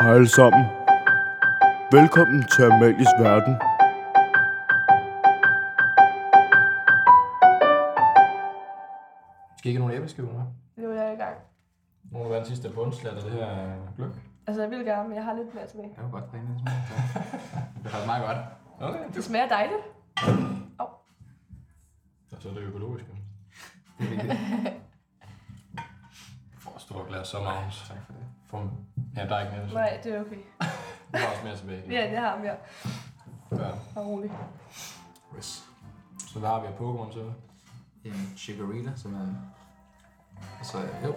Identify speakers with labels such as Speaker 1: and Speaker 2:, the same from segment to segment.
Speaker 1: Hej alle sammen. Velkommen til Amalies Verden.
Speaker 2: Skal I ikke have nogle æbleskiver med?
Speaker 3: Nu er jeg i gang.
Speaker 2: Nogle af verdens sidste bundslat, og det her er gløb.
Speaker 3: Altså, jeg vil gerne, men jeg har lidt mere tilbage.
Speaker 4: Det var godt, det ene smager. Det var meget godt.
Speaker 2: Okay.
Speaker 3: Det smager dejligt.
Speaker 2: Og så er det økologiske.
Speaker 4: Det er vigtigt.
Speaker 2: For et stort glas, så Magnus.
Speaker 4: Tak for det.
Speaker 2: For, ja, der er ikke mere. desværre.
Speaker 3: Nej, det er okay.
Speaker 2: Du har også mere tilbage.
Speaker 3: Ja, det har mere.
Speaker 2: ja.
Speaker 3: Bare rolig.
Speaker 2: Yes. Så hvad har vi af Pokémon så?
Speaker 4: En chikorita, som er... Og så... Jo. Nej, det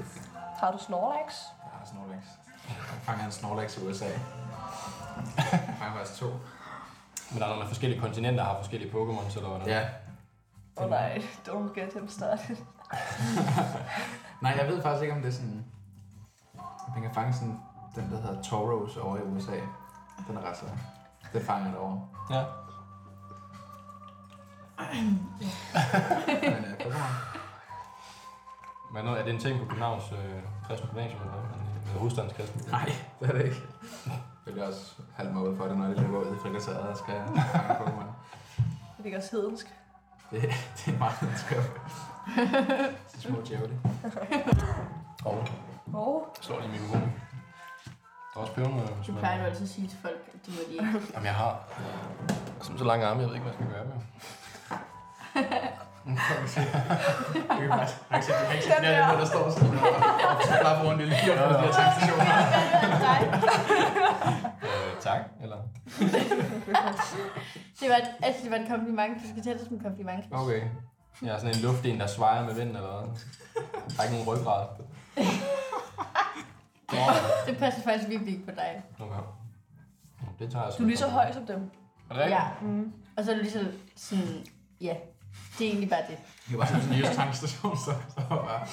Speaker 4: er fint.
Speaker 3: Har du Snorlax?
Speaker 4: Jeg har Snorlax. Jeg fanger en Snorlax i USA. Jeg fanger faktisk to.
Speaker 2: Men der er nogle af forskellige kontinenter, der har forskellige Pokémon, så der var noget.
Speaker 4: Ja.
Speaker 3: Åh oh, nej, don't get him started.
Speaker 4: Nej, jeg ved faktisk ikke, om det er sådan... Om Man kan fange sådan den, der hedder Tauros over i USA. Den er ret sej. Det fanger jeg derovre.
Speaker 2: ja.
Speaker 4: Men øh, Pokémon.
Speaker 2: Men noget, er det en ting på Københavns øh, kristne gymnasium eller hvad? Eller hovedstadens kristne?
Speaker 4: Nej, det er det ikke. Jeg bliver også halvt mobbet for det, når de løber ud i frikvarteret og skal fange Pokémon.
Speaker 3: Det er ikke også hedensk.
Speaker 4: Det, det er meget skørt. Så små djævle.
Speaker 2: Og
Speaker 3: Oh,
Speaker 2: slår lige mikrofonen. Der er også pebernødder.
Speaker 5: Du plejer jo altid at sige til folk, at det må de ikke.
Speaker 2: Jamen, jeg har som så lange arme, jeg ved ikke, hvad jeg skal gøre med.
Speaker 4: Jeg kan faktisk jeg kan ikke se- jeg kan ikke se
Speaker 3: Den
Speaker 4: flere af
Speaker 3: der.
Speaker 4: dem, der står sådan og og så flapper rundt i lige og bliver tankstationer.
Speaker 2: Øh, tak, eller?
Speaker 5: Det var, altså, det var en kompliment. Du skal tage det som en kompliment.
Speaker 2: Okay. Jeg er sådan en luftig en, der svejer med vinden eller hvad? Der er ikke nogen ryggrad.
Speaker 5: Det passer faktisk virkelig ikke på dig.
Speaker 2: Okay. Det tager jeg
Speaker 3: du er lige så høj som dem.
Speaker 2: Er det rigtigt?
Speaker 5: Ja. Og så er det lige så sådan, ja, det er egentlig bare det.
Speaker 4: Det var sådan en nyeste tankstation, så så var bare...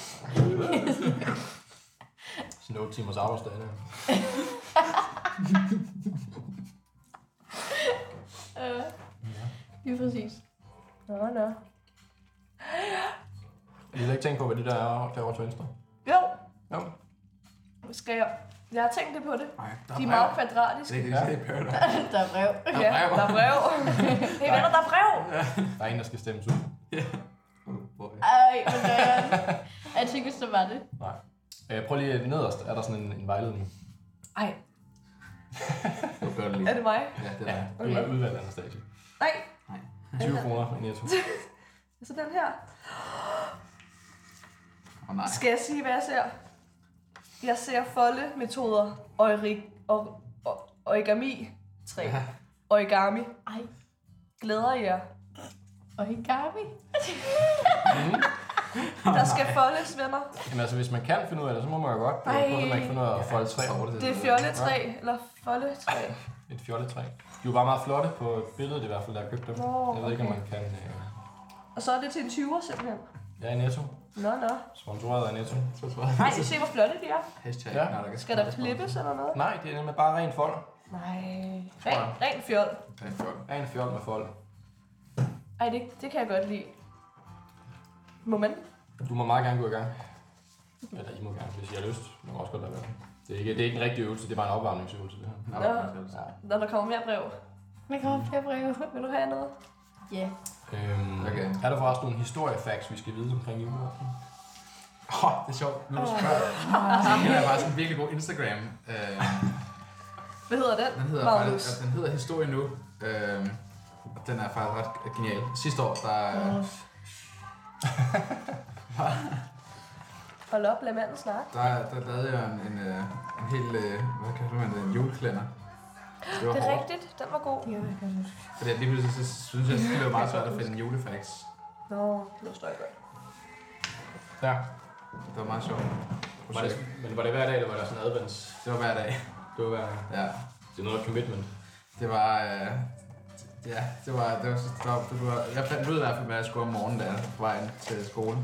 Speaker 2: Sådan 8 timers arbejdsdag. Der.
Speaker 5: Øh, lige præcis.
Speaker 3: Nå, nå.
Speaker 2: Jeg har ikke tænkt på, hvad det der er derovre til venstre.
Speaker 3: Jo,
Speaker 2: Jo.
Speaker 3: skal jeg. Jeg har tænkt lidt på det.
Speaker 4: Nej, der
Speaker 3: De er meget kvadratiske.
Speaker 4: Det er ikke det, er Paradise.
Speaker 5: Der er brev.
Speaker 4: Der
Speaker 3: Ja,
Speaker 4: er brev.
Speaker 3: der er brev. hey, venner, der er brev.
Speaker 2: Der er en, der skal stemmes ud.
Speaker 4: Oh, boy.
Speaker 5: Ej, hvor nøjeren. Jeg tænkte, hvis det var det.
Speaker 2: Nej. Øh, prøv lige nederst. Er der sådan en, en vejledning?
Speaker 3: Ej,
Speaker 4: Det var godt lige.
Speaker 3: er det mig?
Speaker 4: Ja, det
Speaker 2: Ja,
Speaker 4: er
Speaker 2: du er udvalgt, Anastasia.
Speaker 3: Nej,
Speaker 2: 20 kroner i netto.
Speaker 3: altså den her.
Speaker 4: Åh nej.
Speaker 3: Skal jeg sige, hvad jeg ser? Jeg ser foldemetoder, ori, or, or, origami, træ, origami.
Speaker 5: Ej,
Speaker 3: Glæder jer.
Speaker 5: og ikke Gabi.
Speaker 3: Der skal foldes, venner.
Speaker 2: Jamen altså, hvis man kan finde ud af det, så må man jo godt. Det
Speaker 3: Ej.
Speaker 2: er kun, at man ikke finder ud af at folde træ over det.
Speaker 3: Det er fjolletræ, eller foldetræ.
Speaker 2: Et fjolletræ. De var bare meget flotte på billedet i hvert fald, da jeg købte dem.
Speaker 3: Nå,
Speaker 2: Jeg ved ikke, om
Speaker 3: okay.
Speaker 2: man kan... Øh...
Speaker 3: Og så er det til en 20'er simpelthen.
Speaker 2: Ja, i Netto.
Speaker 3: Nå, nå.
Speaker 2: Sponsoreret af Netto.
Speaker 4: Så tror jeg.
Speaker 3: Nej, se hvor flotte de er.
Speaker 4: Hashtag,
Speaker 2: Ja.
Speaker 4: når der kan
Speaker 3: Skal der flippes eller noget?
Speaker 2: Nej, det er nemlig bare ren fold.
Speaker 3: Nej. Ren, ren fjol.
Speaker 4: Det er godt.
Speaker 2: Ren fjol med fold.
Speaker 3: Ej, det, det kan jeg godt lide. Må man?
Speaker 2: Du må meget gerne gå i gang. Eller I må gerne, hvis I har lyst. Man må også godt lade være. Det er ikke, det er ikke en rigtig øvelse, det er bare en opvarmningsøvelse, det her.
Speaker 4: Nå,
Speaker 3: Nå.
Speaker 4: det er
Speaker 3: Når der kommer mere brev.
Speaker 5: Der kommer flere brev.
Speaker 3: Vil du have noget?
Speaker 5: Ja.
Speaker 2: Øhm,
Speaker 4: Okay.
Speaker 2: Er der forresten nogle historiefacts, vi skal vide omkring juleaften?
Speaker 4: Åh, det er sjovt. Nu du spørger. Det er bare sådan en virkelig god Instagram. Øh,
Speaker 3: Hvad hedder den?
Speaker 4: Den hedder,
Speaker 3: Magnus.
Speaker 4: faktisk, den hedder Historie Nu. Øhm, og den er faktisk ret genial. Sidste år, der...
Speaker 5: Åh,
Speaker 3: Hold op, lad manden snakke.
Speaker 4: Der, der lavede jeg en, en, øh, en hel, øh, hvad kalder man det, en juleklænder. Det var
Speaker 3: Det er
Speaker 4: hårdt,
Speaker 3: rigtigt. Den var god.
Speaker 5: det kan jeg godt huske.
Speaker 4: fordi at lige pludselig så synes jeg, det var meget svært at finde en julefax.
Speaker 3: Nå, det forstår jeg godt.
Speaker 4: Ja. Det var meget sjovt.
Speaker 2: Var det,
Speaker 4: Projekt.
Speaker 2: men var det hver dag, eller var der sådan en advents?
Speaker 4: Det var hver dag.
Speaker 2: Det var hver dag.
Speaker 4: Ja.
Speaker 2: Det er noget af commitment.
Speaker 4: Det var, øh, ja, det var, det var, det var, det var, jeg fandt ud af i hvert fald, hvad jeg skulle om morgenen, da jeg var på vej ind til skole.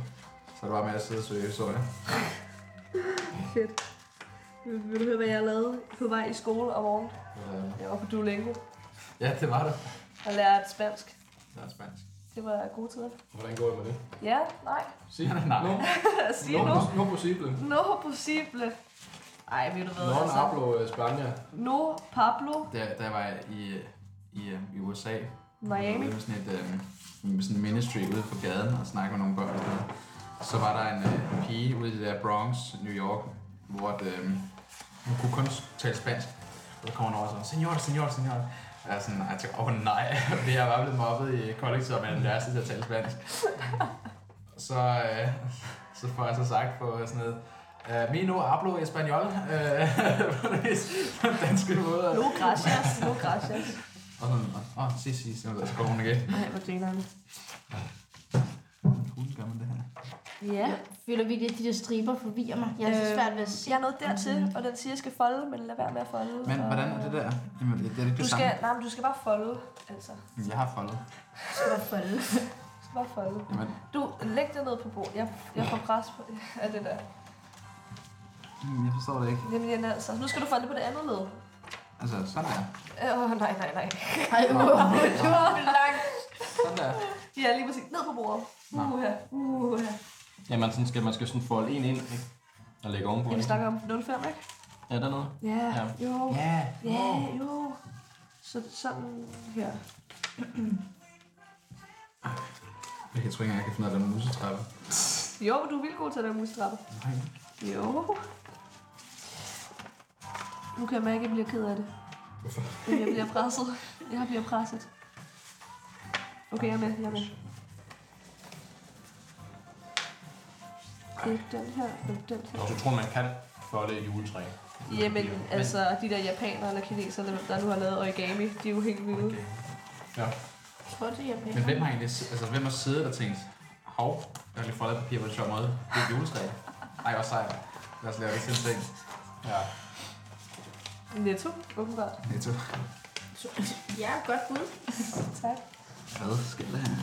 Speaker 4: Så det var med at sidde og søge historie.
Speaker 3: Fedt. Vil, vil du høre, hvad jeg lavede på vej i skole om morgenen?
Speaker 4: Øh,
Speaker 3: Jeg var på Duolingo
Speaker 4: Ja, det var det.
Speaker 3: og lærte spansk.
Speaker 4: Det var spansk.
Speaker 3: Det var gode tider.
Speaker 2: Hvordan går det med det?
Speaker 3: Ja, nej.
Speaker 2: Sig.
Speaker 4: Nej.
Speaker 2: No,
Speaker 3: Sige
Speaker 2: no,
Speaker 3: nu.
Speaker 2: no, possible.
Speaker 3: No possible. Ej, ved du hvad,
Speaker 2: Nå, en
Speaker 3: altså.
Speaker 2: Ablo øh, Spania.
Speaker 3: No Pablo
Speaker 4: Da, da jeg var i, øh, i, øh, i USA,
Speaker 3: Miami.
Speaker 4: ude med sådan et øh, med sådan en ministry ude på gaden og snakke med nogle børn. og sådan noget. Så var der en øh, pige ude i det der Bronx, New York, hvor at, øh, hun kunne kun tale spansk. Og så kommer hun over og sådan, senor, senor, senor. Og jeg er sådan, jeg tænker, åh oh, nej, fordi jeg var blevet mobbet i kollektivet, og man er den værste til at tale spansk. Så, øh, så får jeg så sagt på sådan noget, øh, Mino hablo español, øh, på den på den danske måde.
Speaker 3: No gracias, no gracias.
Speaker 4: Og sådan, åh, oh, si, si, si, og så går hun igen.
Speaker 3: Nej, hvor grineren.
Speaker 4: Hvordan gør man det her?
Speaker 5: Ja, føler vi det, de der striber forvirrer mig. Jeg er så
Speaker 3: Øh,
Speaker 5: svært ved at se.
Speaker 3: Jeg er nået dertil, og den siger, at jeg skal folde, men lad være med at folde.
Speaker 4: Men
Speaker 3: og-
Speaker 4: hvordan er det der? Jamen, det, det er ikke
Speaker 3: Du
Speaker 4: det
Speaker 3: skal,
Speaker 4: samme.
Speaker 3: nej, men du skal bare folde, altså.
Speaker 4: Jeg har foldet.
Speaker 5: Hvorfor det?
Speaker 3: Du skal bare folde.
Speaker 4: Jamen,
Speaker 3: Du, læg det ned på bordet. Jeg, jeg får pres på, af det der.
Speaker 4: hmm, jeg forstår det ikke.
Speaker 3: Jamen, altså. Nu skal du folde på det andet led.
Speaker 4: Altså, sådan der.
Speaker 3: Åh, oh, nej, nej, nej.
Speaker 5: Ej, uh, du var for langt.
Speaker 4: Sådan der.
Speaker 3: Ja, lige præcis. Ned på bordet. Uha, uha.
Speaker 2: Jamen, sådan skal, man skal sådan folde en ind, ikke? Og lægge ovenpå.
Speaker 3: Ja, vi
Speaker 2: ikke?
Speaker 3: snakker om 05, ikke?
Speaker 2: Ja, dernede.
Speaker 3: Ja,
Speaker 2: Ja.
Speaker 3: jo.
Speaker 4: Ja.
Speaker 3: Ja, jo. Så sådan her.
Speaker 4: Jeg tror ikke engang, jeg kan finde ud af den musetrappe.
Speaker 3: Jo, men du er vildt god til at lave musetrappe.
Speaker 4: Nej.
Speaker 3: Jo. Nu kan jeg mærke, at jeg bliver ked af det. Hvorfor? Jeg bliver presset. Jeg bliver presset. Okay, jeg er med. Jeg er med. Det er den her, det er den her.
Speaker 2: Og så tror man kan folde et juletræ.
Speaker 3: Jamen,
Speaker 2: Men-
Speaker 3: altså, de der japanere eller kinesere, der- der nu har lavet origami, de er jo helt vilde.
Speaker 4: Okay.
Speaker 2: Ja.
Speaker 5: Tror du, jeg
Speaker 4: Men hvem har egentlig, altså, hvem har siddet og tænkt, hov, jeg har lige foldet papir på en sjov måde. Det er et juletræ. Ej, hvor sejt. Lad os lave det til en ting.
Speaker 2: Ja.
Speaker 3: Netto, åbenbart.
Speaker 4: Netto.
Speaker 5: Ja, godt bud.
Speaker 3: Tak.
Speaker 4: Hvad skal det her?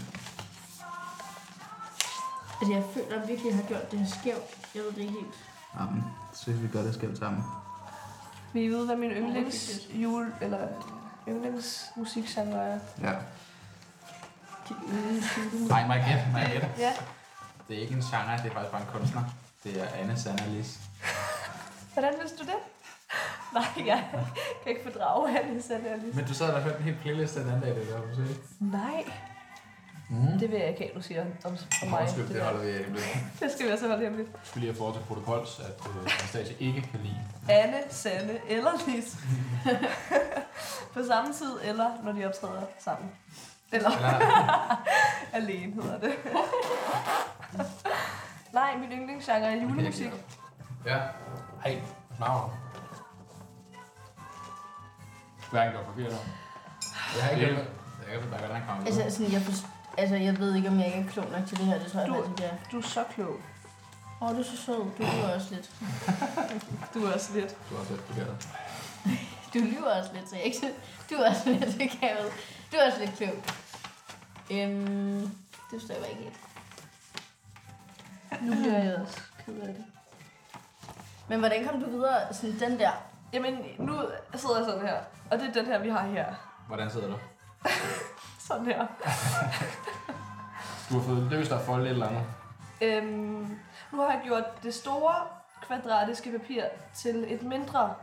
Speaker 5: Altså, jeg føler virkelig, at jeg har gjort det skævt. Jeg ved det ikke helt.
Speaker 4: Jamen, så synes vi gør det skævt sammen.
Speaker 3: Vil I vide, hvad min yndlings jul, eller yndlings musikgenre er?
Speaker 4: Ja.
Speaker 5: Dit yndlings julemusik.
Speaker 4: Nej, må jeg gætte? Må jeg gætte?
Speaker 3: Ja.
Speaker 4: Det er ikke en genre, det er faktisk bare en kunstner. Det er Anne Sandalis.
Speaker 3: Hvordan vidste du det? Nej, jeg kan ikke fordrage han sådan der lige.
Speaker 4: Men du sad der og hørte en hel playlist den anden dag, det der, du sige.
Speaker 3: Nej,
Speaker 4: Mm.
Speaker 3: det vil jeg ikke have, du siger om, om mig.
Speaker 4: Undskyld, det
Speaker 3: der.
Speaker 4: holder vi hemmeligt.
Speaker 3: det skal vi også holde hemmeligt.
Speaker 2: Jeg skal lige have forhold til protokols, at øh, Anastasia ikke kan lide.
Speaker 3: Anne, Sanne eller Lis. På samme tid, eller når de optræder sammen. Eller
Speaker 4: Eller,
Speaker 3: alene hedder det. Nej, min yndlingsgenre er julemusik.
Speaker 4: ja.
Speaker 2: Hej, snakker Hverken gjort forkert eller?
Speaker 4: Jeg har ikke
Speaker 2: Det-
Speaker 4: gjort det. Jeg kan bare hvordan han kommer
Speaker 5: Altså,
Speaker 4: ud.
Speaker 5: sådan, jeg, forst- altså, jeg ved ikke, om jeg ikke er klog nok til det her. Det tror jeg
Speaker 3: Du-
Speaker 5: faktisk ikke, jeg er.
Speaker 3: Du er så klog.
Speaker 5: Åh, du er så sød. Du lyver også lidt.
Speaker 3: Du er også lidt.
Speaker 4: Du har også lidt forkert.
Speaker 5: Du lyver også lidt, så jeg ikke synes- Du er også lidt akavet. Du er også lidt klog. Øhm, det forstår jeg bare ikke helt.
Speaker 3: Nu bliver jeg også ked af det.
Speaker 5: Men hvordan kom du videre? Sådan den der.
Speaker 3: Jamen, nu sidder jeg sådan her. Og det er den her, vi har her.
Speaker 4: Hvordan sidder du?
Speaker 3: Sådan her.
Speaker 2: Du har fået løst dig at folde et eller andet.
Speaker 3: Øhm, nu har jeg gjort det store kvadratiske papir til et mindre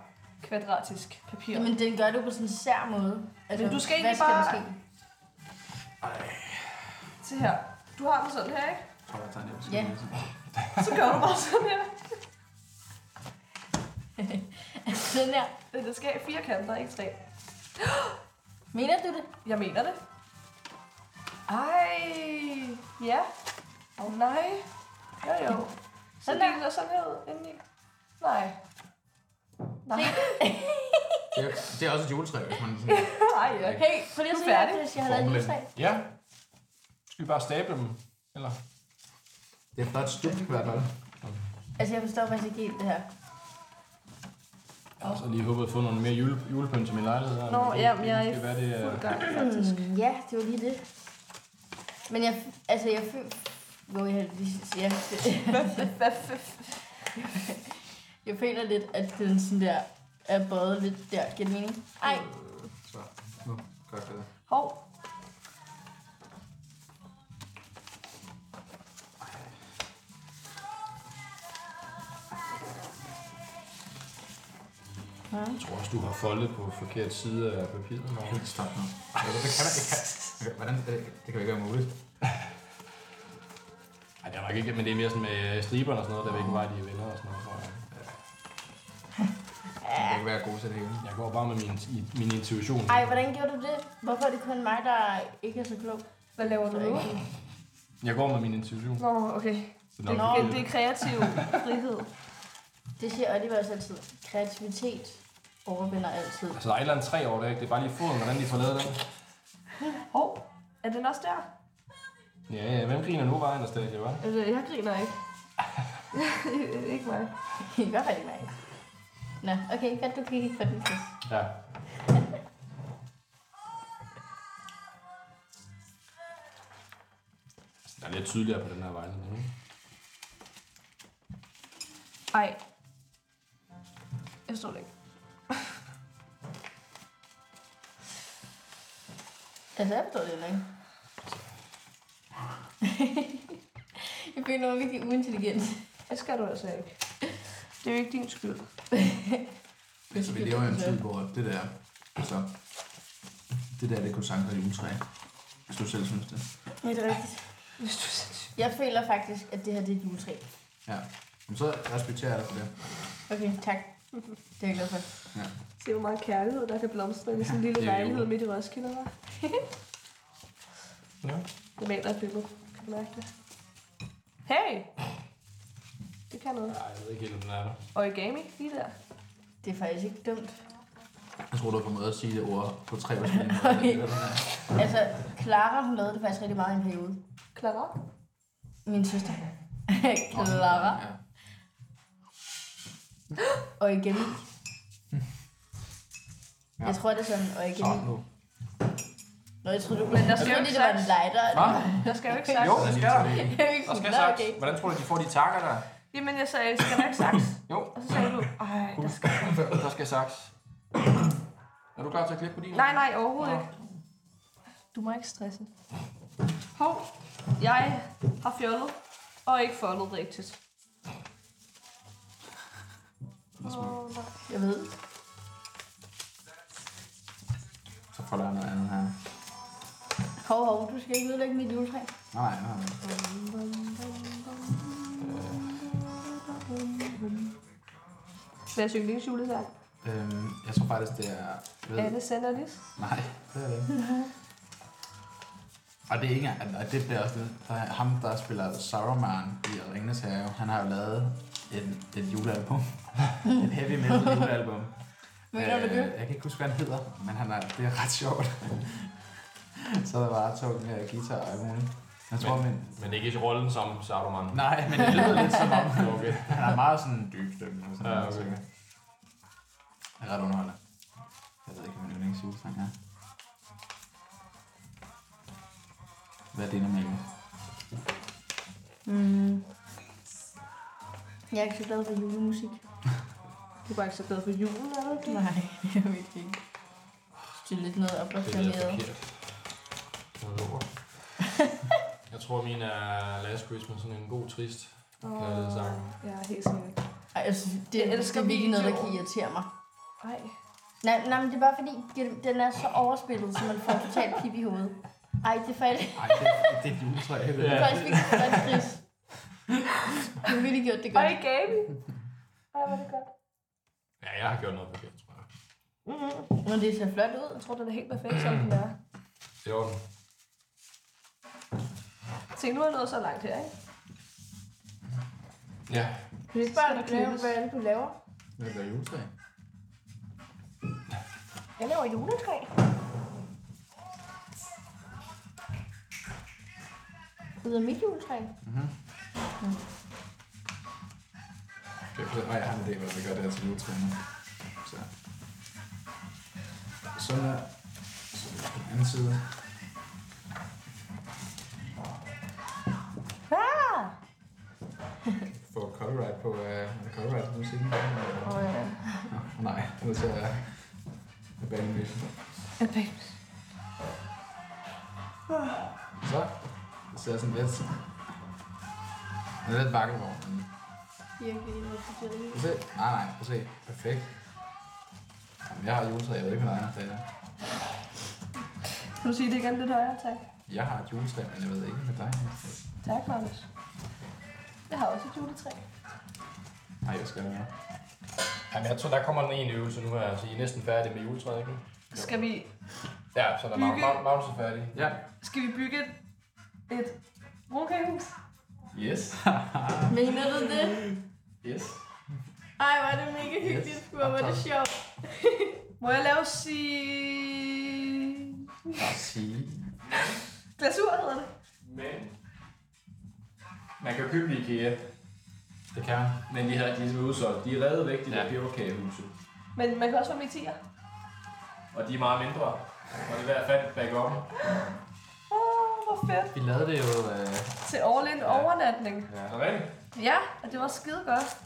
Speaker 3: kvadratisk papir.
Speaker 5: Jamen, den gør du på sådan en sær måde. Altså,
Speaker 3: Men du skal
Speaker 5: hvad
Speaker 3: egentlig
Speaker 5: skal der
Speaker 3: bare-
Speaker 5: ske?
Speaker 3: Se her. Du har den sådan her, ikke?
Speaker 4: Jeg tror, jeg tager en æble.
Speaker 5: Ja.
Speaker 3: Så gør du bare sådan her.
Speaker 5: Den der.
Speaker 3: Men Det Øh, skal have fire kanter, ikke tre.
Speaker 5: Mener du det?
Speaker 3: Jeg mener det. Ej. Ja. Åh oh, nej. Jo jo. Så
Speaker 5: Sådan der.
Speaker 3: deler sådan her ud indeni. Nej. Nej.
Speaker 4: Det er, det er også et juletræ, hvis man sådan...
Speaker 3: Ej, ja.
Speaker 5: Hey, prøv lige at
Speaker 3: Du er
Speaker 5: se her,
Speaker 3: færdig.
Speaker 5: Chris. Jeg har lavet en lille
Speaker 4: Formlen.
Speaker 5: træ.
Speaker 2: Ja. Skal vi bare stable dem? Eller?
Speaker 4: Det er et flot stykke i hvert fald.
Speaker 5: Altså, jeg forstår faktisk ikke helt det her.
Speaker 2: Jeg har så lige håbet at få nogle mere jule, julepynt til min lejlighed. her,
Speaker 3: Nå,
Speaker 2: men det-
Speaker 3: ja, men jeg er i
Speaker 2: Det kan være, det øh, er...
Speaker 3: fuld gang faktisk.
Speaker 5: Mm, ja, det var lige det. Men jeg, altså, jeg føler... Hvor jeg lige ja.
Speaker 3: Hvad f-
Speaker 5: Jeg føler lidt, at den sådan der er både lidt der. Giver det mening? Ej,
Speaker 4: Så, nu. Godt det.
Speaker 3: Hov.
Speaker 2: Jeg tror også, du har foldet på forkert side af papiret. Morten.
Speaker 4: Helt stop nu. Altså, det kan man ikke. Okay, Hvordan, det, det kan jo ikke være muligt.
Speaker 2: Ej, det er nok ikke, men det er mere sådan med øh, striberne og sådan noget, der er ikke vej, de er venner og sådan noget, tror jeg.
Speaker 4: Man kan ikke være god til det hele.
Speaker 2: Jeg går bare med min, i- min intuition.
Speaker 5: Ej, hvordan gjorde du det? Hvorfor er det kun mig, der ikke er så klog?
Speaker 3: Hvad laver du nu?
Speaker 2: Jeg går med min intuition.
Speaker 3: Nå, okay.
Speaker 2: Så
Speaker 3: Det,
Speaker 2: nok-
Speaker 5: Nå.
Speaker 3: det, det er kreativ frihed.
Speaker 5: Det siger Oliver også altid. Kreativitet overvinder altid.
Speaker 2: Altså, der er et eller andet tre over der, ikke? Det er bare lige foden, hvordan de får lavet den.
Speaker 3: Hov, er den også der?
Speaker 2: Ja, ja, hvem griner nu, vejen der stadig, hva'?
Speaker 3: Altså, jeg griner ikke. ikke mig.
Speaker 5: Det gør rigtig mig. Nå, okay, godt, du kiggede på den sidst.
Speaker 2: Ja. Altså, Der er lidt tydeligere på den her vejledning, ikke?
Speaker 3: Ej. Jeg forstår det ikke.
Speaker 5: Altså, jeg forstår det heller ikke. jeg føler mig virkelig uintelligent.
Speaker 3: Det skal du altså ikke. Det er jo ikke din skyld.
Speaker 4: Altså, vi lever i en tid, hvor det der, altså, det der, det kunne sange et juletræ. Hvis du selv synes det.
Speaker 5: Ja, det er rigtigt.
Speaker 3: Hvis du er sindssyg.
Speaker 5: Jeg føler faktisk, at det her det er et juletræ.
Speaker 4: Ja. Men så respekterer jeg dig for det.
Speaker 5: Okay, tak. Det er jeg glad for.
Speaker 4: Ja.
Speaker 3: Se, hvor meget kærlighed, der kan blomstre i sådan en lille
Speaker 2: det er jo-
Speaker 3: lejlighed midt i Roskilde, hva'?
Speaker 2: Ja.
Speaker 3: Jeg maler et billede. Kan du mærke det? Hey! Det kan noget.
Speaker 2: Nej, jeg ved ikke helt, om den er der.
Speaker 3: Origami, lige der.
Speaker 5: Det er faktisk ikke dumt.
Speaker 4: Jeg tror, du har fået måde at sige det ord på tre forskellige
Speaker 5: Okay.
Speaker 4: måder.
Speaker 5: Altså, Clara, hun lavede det faktisk rigtig meget i en periode.
Speaker 3: Klar op.
Speaker 5: Min søster. Clara.
Speaker 4: Ja.
Speaker 5: Origami.
Speaker 4: Ja.
Speaker 5: Jeg tror, det er sådan origami.
Speaker 4: Sådan nu.
Speaker 5: Nå, jeg troede, du
Speaker 3: Men der skal
Speaker 5: jeg
Speaker 3: jo
Speaker 5: troede,
Speaker 3: ikke
Speaker 5: det var en
Speaker 3: saks.
Speaker 5: lighter.
Speaker 2: Hva?
Speaker 3: Der skal jo ikke saks.
Speaker 2: Jo, det skal der.
Speaker 5: Jeg er ikke
Speaker 2: Der skal
Speaker 5: sådan, "Nå,
Speaker 2: saks.
Speaker 5: okay."
Speaker 2: Hvordan tror du, de får de takker der?
Speaker 3: Jamen, jeg sagde, skal der ikke saks?
Speaker 2: Jo,
Speaker 3: Og så sagde du, ej, der skal...
Speaker 2: der skal saks. Er du klar til at klippe på din?
Speaker 3: Nej, nej, overhovedet ikke. Du må ikke stresse. Hov, jeg har fjollet, og ikke foldet rigtigt. Åh, nej.
Speaker 5: Jeg ved.
Speaker 4: Så får der noget andet her.
Speaker 5: Hov, hov, du skal ikke ødelægge mit juletræ.
Speaker 4: Nej, nej, nej.
Speaker 3: Hvad er yndlingsjulesang?
Speaker 4: Øhm, jeg tror faktisk, det er... Ved,
Speaker 3: Anne Sanderlis.
Speaker 4: Nej, det er det ikke. Og det er ikke engang, og det bliver også lidt, der er ham, der spiller Saruman i Ringenes Herre, han har jo lavet et, et julealbum. et heavy metal julealbum. Øh,
Speaker 5: Mener du det?
Speaker 4: Jeg kan ikke huske, hvad han hedder, men han er, det er ret sjovt. så er der bare to med guitar og alt muligt. Jeg tror, men,
Speaker 2: Men det er ikke i rollen som Saruman.
Speaker 4: Nej, men det lyder lidt som om,
Speaker 2: Okay.
Speaker 4: han er meget sådan dyb stemme. Og sådan
Speaker 2: Ja,
Speaker 4: noget,
Speaker 2: okay.
Speaker 4: sikkert. Det er ret underholdende. Jeg ved ikke, hvad min yndlingsjulesang er. Hvad er det normalt?
Speaker 5: Mm. Jeg er ikke så glad for julemusik.
Speaker 3: Du er bare ikke så glad for julen, er du?
Speaker 5: Nej, det er virkelig ikke. Det er lidt noget
Speaker 2: Det er lidt
Speaker 5: opblomsterneret.
Speaker 2: forkert. Noget lort. Jeg tror, min er Last Christmas, sådan en god, trist kærlighedssang.
Speaker 3: Jeg er helt sikkert.
Speaker 5: Ej, jeg synes, det,
Speaker 3: Jeg
Speaker 5: jeg
Speaker 3: elsker
Speaker 5: elsker det er virkelig noget, der
Speaker 3: videoer.
Speaker 5: kan irritere mig.
Speaker 3: Ej.
Speaker 5: Nej, nej, men det er bare fordi, det- den er så overspillet, så man får totalt pip i hovedet. Ej, det er faktisk,
Speaker 4: Ej, det, det er et juletræ.
Speaker 5: det er faktisk virkelig godt, Chris. Du har virkelig gjort det
Speaker 3: Ej,
Speaker 5: godt.
Speaker 3: Gabi. Ej, var det godt.
Speaker 2: Ja, jeg har gjort noget forkert, tror jeg.
Speaker 3: Mm-hmm.
Speaker 5: Men det ser flot ud.
Speaker 3: Jeg tror, den er helt perfekt, som den er.
Speaker 2: Det var den.
Speaker 3: Se, nu er jeg nået så langt her, ikke?
Speaker 2: Ja.
Speaker 5: Kan du
Speaker 3: ikke bare lave, hvad
Speaker 5: er det, du laver?
Speaker 4: Hvad er juletræ?
Speaker 3: Jeg laver juletræ.
Speaker 5: Ud af mit juletræ?
Speaker 4: Jeg ved, og jeg har en idé, hvordan vi gør det her til juletræ nu. Så. Sådan der. Så er det på den anden side.
Speaker 3: Ah!
Speaker 4: Får copyright på, øh, er det copyright på musikken?
Speaker 3: Åh, ja.
Speaker 4: Nej, det er nødt til at... Det er bandlysen.
Speaker 3: Jeg er babe.
Speaker 4: Så. Det ser sådan lidt... Den er lidt vakkelvogn. men-
Speaker 5: Virkelig, det er
Speaker 4: Prøv at se. Nej, nej, prøv at se. Perfekt. Jeg har et juletræ, jeg ved ikke, hvad der er. Det er.
Speaker 3: Kan du sige det igen lidt højere? Tak.
Speaker 4: Jeg har et juletræ, men jeg ved ikke, hvad der er.
Speaker 3: Tak, Magnus. Jeg har også et juletræ.
Speaker 4: Nej, jeg skal være.
Speaker 2: Jamen, jeg tror, der kommer den ene øvelse nu her, så I er næsten færdige med juletræet, ikke?
Speaker 3: Skal vi,
Speaker 2: Ja, så der er
Speaker 3: Hygge.
Speaker 2: Mag- Mag- Magnus er færdig.
Speaker 4: Ja.
Speaker 3: skal vi bygge et, et brunkagehus?
Speaker 2: Yes.
Speaker 5: Mener du det?
Speaker 2: Yes.
Speaker 5: Ej, hvor er det mega hyggeligt. Hvor var det sjovt.
Speaker 3: Må jeg lave si...
Speaker 4: Bare sige.
Speaker 3: Glasur hedder det.
Speaker 6: Men man kan jo købe i IKEA,
Speaker 2: Det kan han.
Speaker 6: men de har de er udsolgt. De er reddet væk, de
Speaker 2: Ja.
Speaker 6: der peberkagehuse.
Speaker 3: Men man kan også få med tiger.
Speaker 6: Og de er meget mindre. Og det er i hvert fald back up.
Speaker 3: Åh, oh, hvor fedt.
Speaker 4: Vi lavede det jo... Øh,
Speaker 3: Til overlind overnatning.
Speaker 6: Er det rigtigt?
Speaker 3: Ja, og det var skide godt.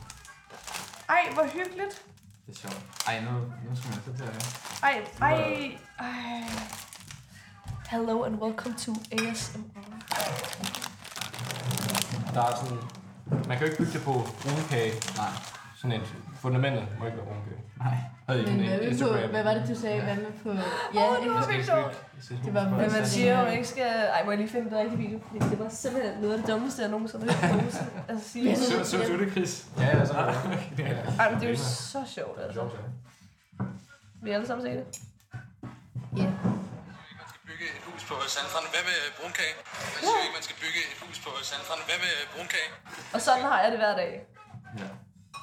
Speaker 3: Ej, hvor hyggeligt.
Speaker 4: det er sjovt. Ej, nu, nu skal man altså sætte det her.
Speaker 3: Ej, ej, ej. Hello and welcome to ASMR.
Speaker 2: Der er sådan... Man kan jo ikke bygge det på brunkage.
Speaker 4: Nej.
Speaker 2: Sådan et fundamentet må ikke være brunkage.
Speaker 4: Nej.
Speaker 2: Havde I en
Speaker 5: Men hvad, med på,
Speaker 2: Instagram?
Speaker 5: hvad var det, du sagde? Hvad med på... Ja,
Speaker 3: Åh, det var
Speaker 5: ikke?
Speaker 3: vildt sjovt.
Speaker 5: det var
Speaker 3: Men man
Speaker 5: vildt.
Speaker 3: siger jo, man ikke skal... Ej, må jeg lige finde den rigtige video? Fordi det var simpelthen noget af det dummeste, jeg nogensinde har hørt. Altså sige.
Speaker 5: Yes.
Speaker 4: Så, så du det, Chris?
Speaker 2: Ja, ja, så er
Speaker 6: Ah.
Speaker 2: det.
Speaker 3: Ej, men det er jo så sjovt, altså.
Speaker 2: Sjovt, ja.
Speaker 3: Vi alle sammen se det.
Speaker 5: Ja.
Speaker 7: man skal bygge et hus på Sandstranden. Hvad med brunkage? Jeg synes jo ikke, man skal bygge et hus på Sandstranden. Hvad med brunkage?
Speaker 3: Og sådan har jeg det hver dag.
Speaker 4: Ja.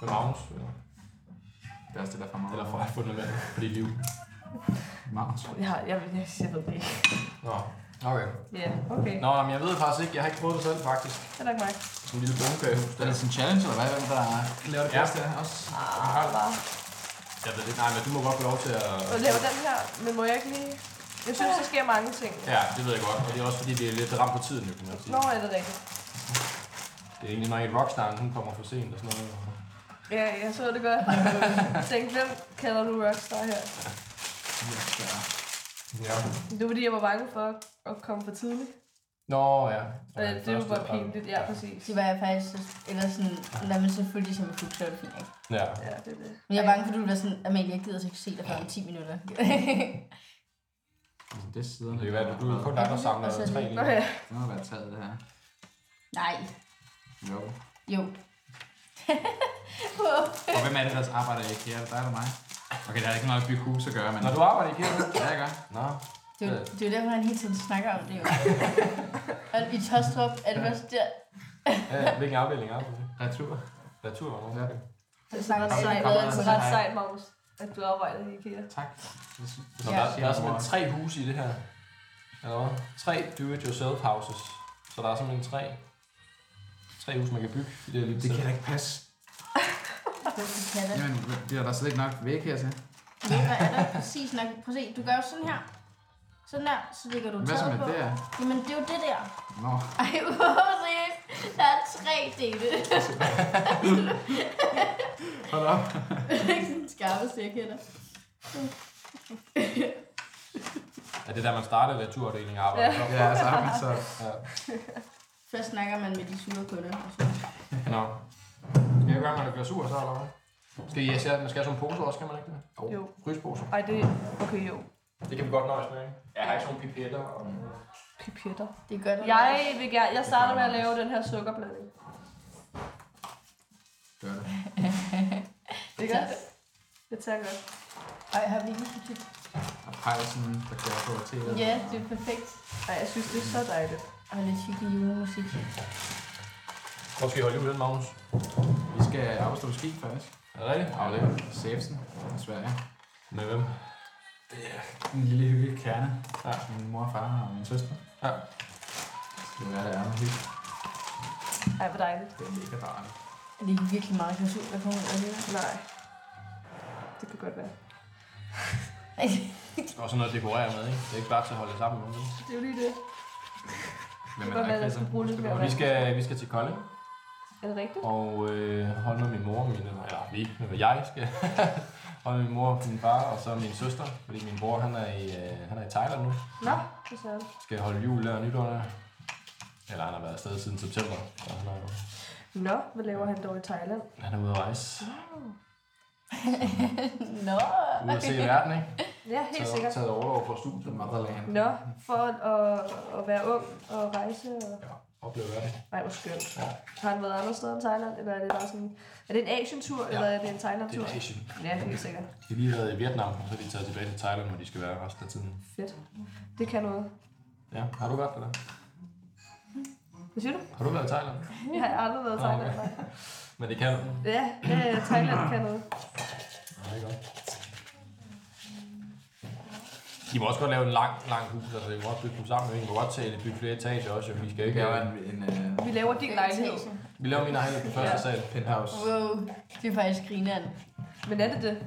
Speaker 2: Med Magnus. Eller,
Speaker 4: Det er også det, der er for meget.
Speaker 2: eller for at fundamentet på dit liv.
Speaker 4: Magnus.
Speaker 3: Jeg, har, jeg, jeg, jeg ved det ikke.
Speaker 2: Nå. Okay.
Speaker 3: Ja, okay.
Speaker 2: Nå, men jeg ved faktisk ikke. Jeg har ikke prøvet det selv, faktisk.
Speaker 3: Det er nok mig.
Speaker 2: Som lille brunkagehus.
Speaker 4: Er det sådan en challenge, eller hvad? Hvem der laver det
Speaker 2: Ja.
Speaker 4: bedste ja. også?
Speaker 3: Ah, bare.
Speaker 2: Jeg ved det ikke. Nej, men du må godt få lov til at...
Speaker 3: Og lave den her, men må jeg ikke lige... Jeg synes, der sker mange ting.
Speaker 2: Ja, det ved jeg godt. Og det er også fordi, vi er lidt ramt på tiden, jo, kan man sige.
Speaker 3: Nå, er det rigtigt?
Speaker 2: Det er egentlig nok ikke rockstarren, hun kommer for sent og sådan noget.
Speaker 3: Ja, jeg så det godt. Tænk, hvem kalder du rockstar her?
Speaker 2: Ja.
Speaker 3: Det var fordi, jeg var bange for at komme for tidligt.
Speaker 2: Nå, ja.
Speaker 3: Og
Speaker 2: Ja,
Speaker 3: det var
Speaker 2: første-
Speaker 3: bare pinligt. Ja, præcis.
Speaker 5: Det var jeg faktisk... så- Eller sådan... Lad mig selvfølgelig som en fugl, så er det fint, ikke?
Speaker 2: Ja.
Speaker 3: Ja, det er det.
Speaker 5: Men jeg er bange for, at du vil være sådan... Amalie, jeg gider så ikke se dig før om 10 minutter.
Speaker 4: Altså, det er siderne.
Speaker 2: Det kan være, at du er kun dig, der samler
Speaker 5: Og så-
Speaker 2: tre
Speaker 3: altså, Nå
Speaker 2: lige.
Speaker 3: ja.
Speaker 4: Det må være taget, det her.
Speaker 5: Nej.
Speaker 4: Jo.
Speaker 5: Jo.
Speaker 4: Og hvem er det, der arbejder i IKEA? Er det dig eller mig? Okay, det har ikke noget at bygge hus at gøre, men...
Speaker 2: Når du arbejder i kirken?
Speaker 4: Ja, jeg gør.
Speaker 2: Nå.
Speaker 5: Det er, jo, det er jo derfor, han hele tiden snakker om det jo. Og i Tostrup er det også der,
Speaker 2: Ja, ja. hvilken afdeling er du i?
Speaker 4: Retur.
Speaker 2: Natur og
Speaker 4: Ja.
Speaker 5: der snakker
Speaker 3: Så
Speaker 5: sejt.
Speaker 3: det
Speaker 4: kommer
Speaker 3: er
Speaker 4: der.
Speaker 3: ret sejt, Magnus, at du arbejder i IKEA.
Speaker 4: Tak.
Speaker 2: Så
Speaker 5: Ja.
Speaker 2: der, der er simpelthen tre huse i det her. Eller hvad? Tre do-it-yourself houses. Så der er simpelthen tre, tre huse, man kan bygge i det her lille
Speaker 4: Det kan
Speaker 2: sæt.
Speaker 4: da ikke passe.
Speaker 5: Katte.
Speaker 4: Jamen, det er der slet ikke nok væk her til.
Speaker 5: Ved du, hvad er der præcis nok? Prøv at se, du gør jo sådan her. Sådan der, så ligger du
Speaker 4: Hvad så
Speaker 5: taget
Speaker 4: med
Speaker 5: på.
Speaker 4: det her?
Speaker 5: Jamen, det er jo det der.
Speaker 4: Nå,
Speaker 5: Ej, wow, seriøst. Der er tre dele.
Speaker 4: hold op.
Speaker 5: Det er ikke sådan skarpeste, jeg kender.
Speaker 2: Er det der, man starter i naturafdelingen og arbejder? Ja.
Speaker 4: Ja, så har man så...
Speaker 2: ja.
Speaker 5: Først snakker man med de sure kunder. og så-
Speaker 2: Nå. Skal jeg gøre, man bliver sur så, eller hvad? Skal I, skal jeg sådan en pose også, kan man ikke det?
Speaker 3: Jo.
Speaker 2: Frysposer.
Speaker 3: Ej, det... Okay, jo.
Speaker 2: Det kan vi godt nøjes med, ikke? Jeg har ikke sådan nogle pipetter. Og...
Speaker 3: Pipetter.
Speaker 5: Det gør du.
Speaker 3: Jeg vil gerne... Jeg starter med at lave den her sukkerblanding.
Speaker 4: Gør det.
Speaker 3: Det gør det. Det tager godt.
Speaker 5: Ej, har vi ikke det?
Speaker 4: Og pejsen, der kører på til.
Speaker 5: Ja, det er perfekt.
Speaker 3: Ej, jeg synes, det er så dejligt.
Speaker 5: Og lidt hyggelig julemusik.
Speaker 2: Hvor skal I holde ud den, Magnus?
Speaker 4: Vi skal op og stå på ski, faktisk.
Speaker 2: Er det rigtigt?
Speaker 4: Og det er Sæbsen fra Sverige.
Speaker 2: Med hvem?
Speaker 4: En lille hyggelig kerne.
Speaker 2: Ja.
Speaker 4: Min mor og far og min søster.
Speaker 2: Ja.
Speaker 4: Så det er, det er noget hyggeligt.
Speaker 3: Ej, hvor dejligt.
Speaker 4: Det er mega dejligt.
Speaker 5: Er det ikke virkelig meget glasur, der kommer ud af det? her?
Speaker 3: Nej. Det kan godt være.
Speaker 2: Og sådan noget at dekorere med, ikke? Det er ikke bare til at holde det sammen med. vel?
Speaker 3: Det er jo lige det.
Speaker 4: Hvem
Speaker 3: Godt være, der
Speaker 4: Christian?
Speaker 3: skal bruge lidt
Speaker 4: Skal du-
Speaker 2: Og
Speaker 3: mere
Speaker 2: vi skal, vi skal til Kolding,
Speaker 3: Er det rigtigt?
Speaker 2: og øh, holde med min mor og min... Eller vi, men jeg skal holde med min mor og min far, og så min søster. Fordi min bror, han er i, øh, han er i Thailand nu.
Speaker 3: Nå, det er
Speaker 2: Skal holde jul der og nytår der. Eller han har været afsted siden september. Så han er, jo-
Speaker 3: Nå, hvad laver han dog i Thailand?
Speaker 2: han er ude at rejse.
Speaker 5: Nå.
Speaker 2: Ude at se verden, ikke?
Speaker 3: Ja, helt
Speaker 2: Taget,
Speaker 3: sikkert.
Speaker 2: taget overlov fra studiet.
Speaker 4: Motherland.
Speaker 3: Nå, for at, at være ung og rejse og...
Speaker 2: Ja, opleve verden.
Speaker 3: Ej, hvor skønt. Har han været andre steder end Thailand, eller er det bare sådan... Er det en Asien-tur, ja. eller er det en
Speaker 2: Det
Speaker 3: Thailand-tur?
Speaker 2: er Asien.
Speaker 3: Ja, helt sikkert.
Speaker 2: De har lige været i Vietnam, og så er de taget tilbage til Thailand, hvor de skal være resten af tiden.
Speaker 3: Fedt. Det kan noget.
Speaker 2: Ja, har du været der?
Speaker 3: Hvad siger du?
Speaker 2: Har du været i Thailand?
Speaker 3: Jeg har aldrig været i
Speaker 2: Nå,
Speaker 3: Thailand.
Speaker 2: okay.
Speaker 3: nej.
Speaker 2: Men det kan du.
Speaker 3: Ja, ja, ja, Thailand kan noget.
Speaker 2: Ja, det er godt. De må også godt lave en lang, lang hus, altså de må også bygge dem sammen, ikke? De må godt tage, bygge flere etager også, jo. vi skal
Speaker 4: Det
Speaker 2: ikke...
Speaker 4: er jo en, en øh,
Speaker 3: Vi laver din lejlighed.
Speaker 2: Vi laver min egen på første
Speaker 3: Ja.
Speaker 2: sal.
Speaker 4: penthouse.
Speaker 5: Wow, det er faktisk grineren.
Speaker 3: Men er det det?